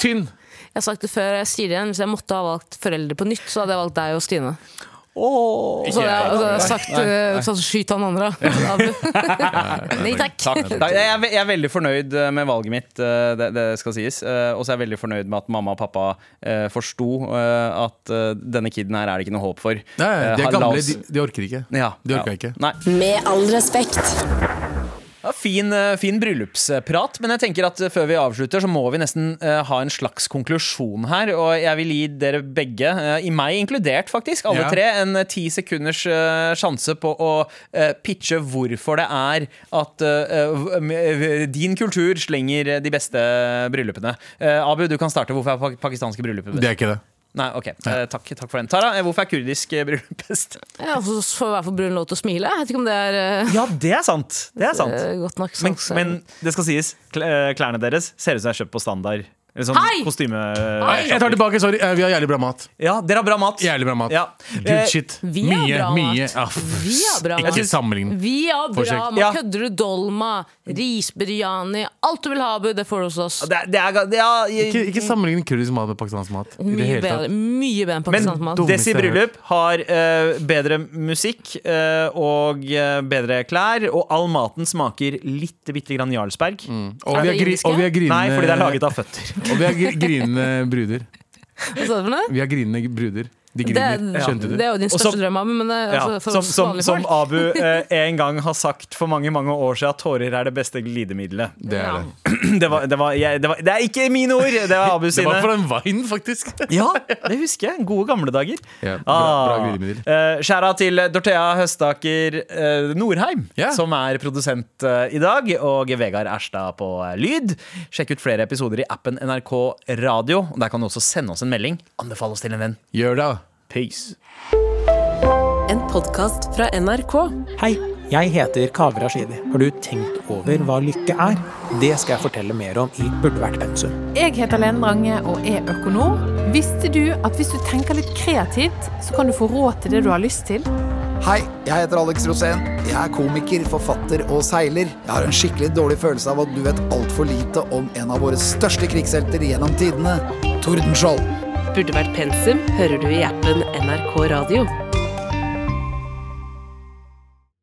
S3: tynn!
S1: Jeg har sagt det før, jeg sier det igjen. Hvis jeg måtte ha valgt foreldre på nytt, så hadde jeg valgt deg og Stine. Så hadde jeg, og så hadde jeg sagt eh, sånn, skyt han andre. Abu. Nei takk.
S2: Nei, jeg, er, ve- jeg er veldig fornøyd eh, med valget mitt, eh, det, det skal sies. Eh, Og så er jeg veldig fornøyd med at mamma og pappa eh, forsto eh, at eh, denne kiden her er det ikke noe håp for.
S3: Nei,
S2: Eh,
S3: de
S2: la
S3: er gamle,
S2: oss-
S3: de, de orker ikke.
S2: ja,
S3: de orker ikke.
S2: Nei.
S4: Med all respekt.
S2: Ja, fin, eh, fin bryllupsprat, men jeg tenker at eh, før vi avslutter, så må vi nesten eh, ha en slags konklusjon her. Og jeg vil gi dere begge, eh, i meg inkludert faktisk, alle
S3: Ja.
S2: tre, en eh, ti sekunders eh, sjanse på å eh, pitche hvorfor det er at eh, v- m- din kultur slenger eh, de beste bryllupene. Eh, Abu, du kan starte. Hvorfor er pak- pakistanske bryllup best?
S3: Det er ikke det.
S2: Nei, ok, eh, takk, takk for den. Tara, eh, hvorfor er kurdisk eh, bryllup best?
S1: Ja, og så får i hvert fall brun lov til å smile. Jeg vet ikke om det er eh,
S2: Ja, det er sant. Det er sant.
S1: eh, godt nok.
S2: Men,
S1: sans-
S2: men det skal sies, kl- eh, klærne deres ser ut som er kjøpt på standard. Eller sånn
S1: Hei!
S2: kostyme...
S3: Nei, jeg tar tilbake, sorry. Eh, Vi har jævlig bra mat.
S2: Ja, dere har bra mat.
S3: Jævlig bra mat.
S2: Ja. Eh,
S3: Good shit.
S1: vi har
S3: mye,
S1: bra
S3: mye.
S1: mat.
S3: Ja, pff,
S1: Vi har bra mat.
S3: Ikke sammenlign.
S1: Vi har bra
S3: Forsøk.
S1: mat.
S2: Ja.
S1: Kødder du dolma, ris biryani, alt du vil ha, Abu, det får du hos oss.
S2: Det, er- det er, ga- det er,
S3: Ikke, ikke sammenlign kurdisk mat med pakistansk mat. I det
S1: Mye
S3: hele
S1: bedre,
S3: tatt.
S1: mye bedre enn
S2: men
S1: pakistansk mat.
S3: dumt.
S2: Desi
S3: sånn Dummeste jeg
S2: bryllup
S3: har
S2: har eh, bedre musikk eh, og eh, bedre klær, og all maten smaker litt bitte grann Jarlsberg.
S3: Og vi
S1: Er
S3: har
S1: det
S3: gri-
S1: indiske?
S3: Mm. og vi har grinende
S2: Nei, fordi det er laget av føtter.
S3: Og vi har gr- grinende bruder.
S1: Hva sa du for noe?
S3: Vi har grinende bruder. De
S1: Det,
S3: griner. Skjønte du?
S1: det er jo din
S2: Og
S1: største
S2: som-
S1: drøm, Abu, men det, er
S2: Ja,
S1: altså, for
S2: som,
S1: oss
S2: som,
S1: vanlige
S2: som
S1: folk.
S2: Abu eh, en gang har sagt for mange mange år siden, at tårer er det beste glidemiddelet.
S3: Det er det.
S2: Det, var, det, var, jeg, det, var, det er ikke mine ord, det var Abu
S3: Det
S2: sine.
S3: var fra en vine, faktisk.
S2: Ja, det husker jeg. Gode gamle dager.
S3: Ja, bra- bra glidemiddel.
S2: Eh, Skjæra til Dorthea Høstaker eh, Norheim,
S3: Ja.
S2: som er produsent eh, i dag, og Vegard Erstad på eh, lyd. Sjekk ut flere episoder i appen NRK Radio. og Der kan du også sende oss en melding. Anbefal oss til en venn.
S3: Gjør det. da.
S2: Peace.
S5: En podkast fra NRK.
S6: Hei, jeg heter Kaveh Rashidi. Har du tenkt over hva lykke er? Det skal jeg fortelle mer om i Burde vært pensum.
S7: Jeg heter Lene Drange og er økonom. Visste du at hvis du tenker litt kreativt, så kan du få råd til det du har lyst til?
S8: Hei, jeg heter Alex Rosén. Jeg er komiker, forfatter og seiler. Jeg har en skikkelig dårlig følelse av at du vet altfor lite om en av våre største krigshelter gjennom tidene, Tordenskjold.
S5: Burde vært pensum hører du i appen NRK Radio.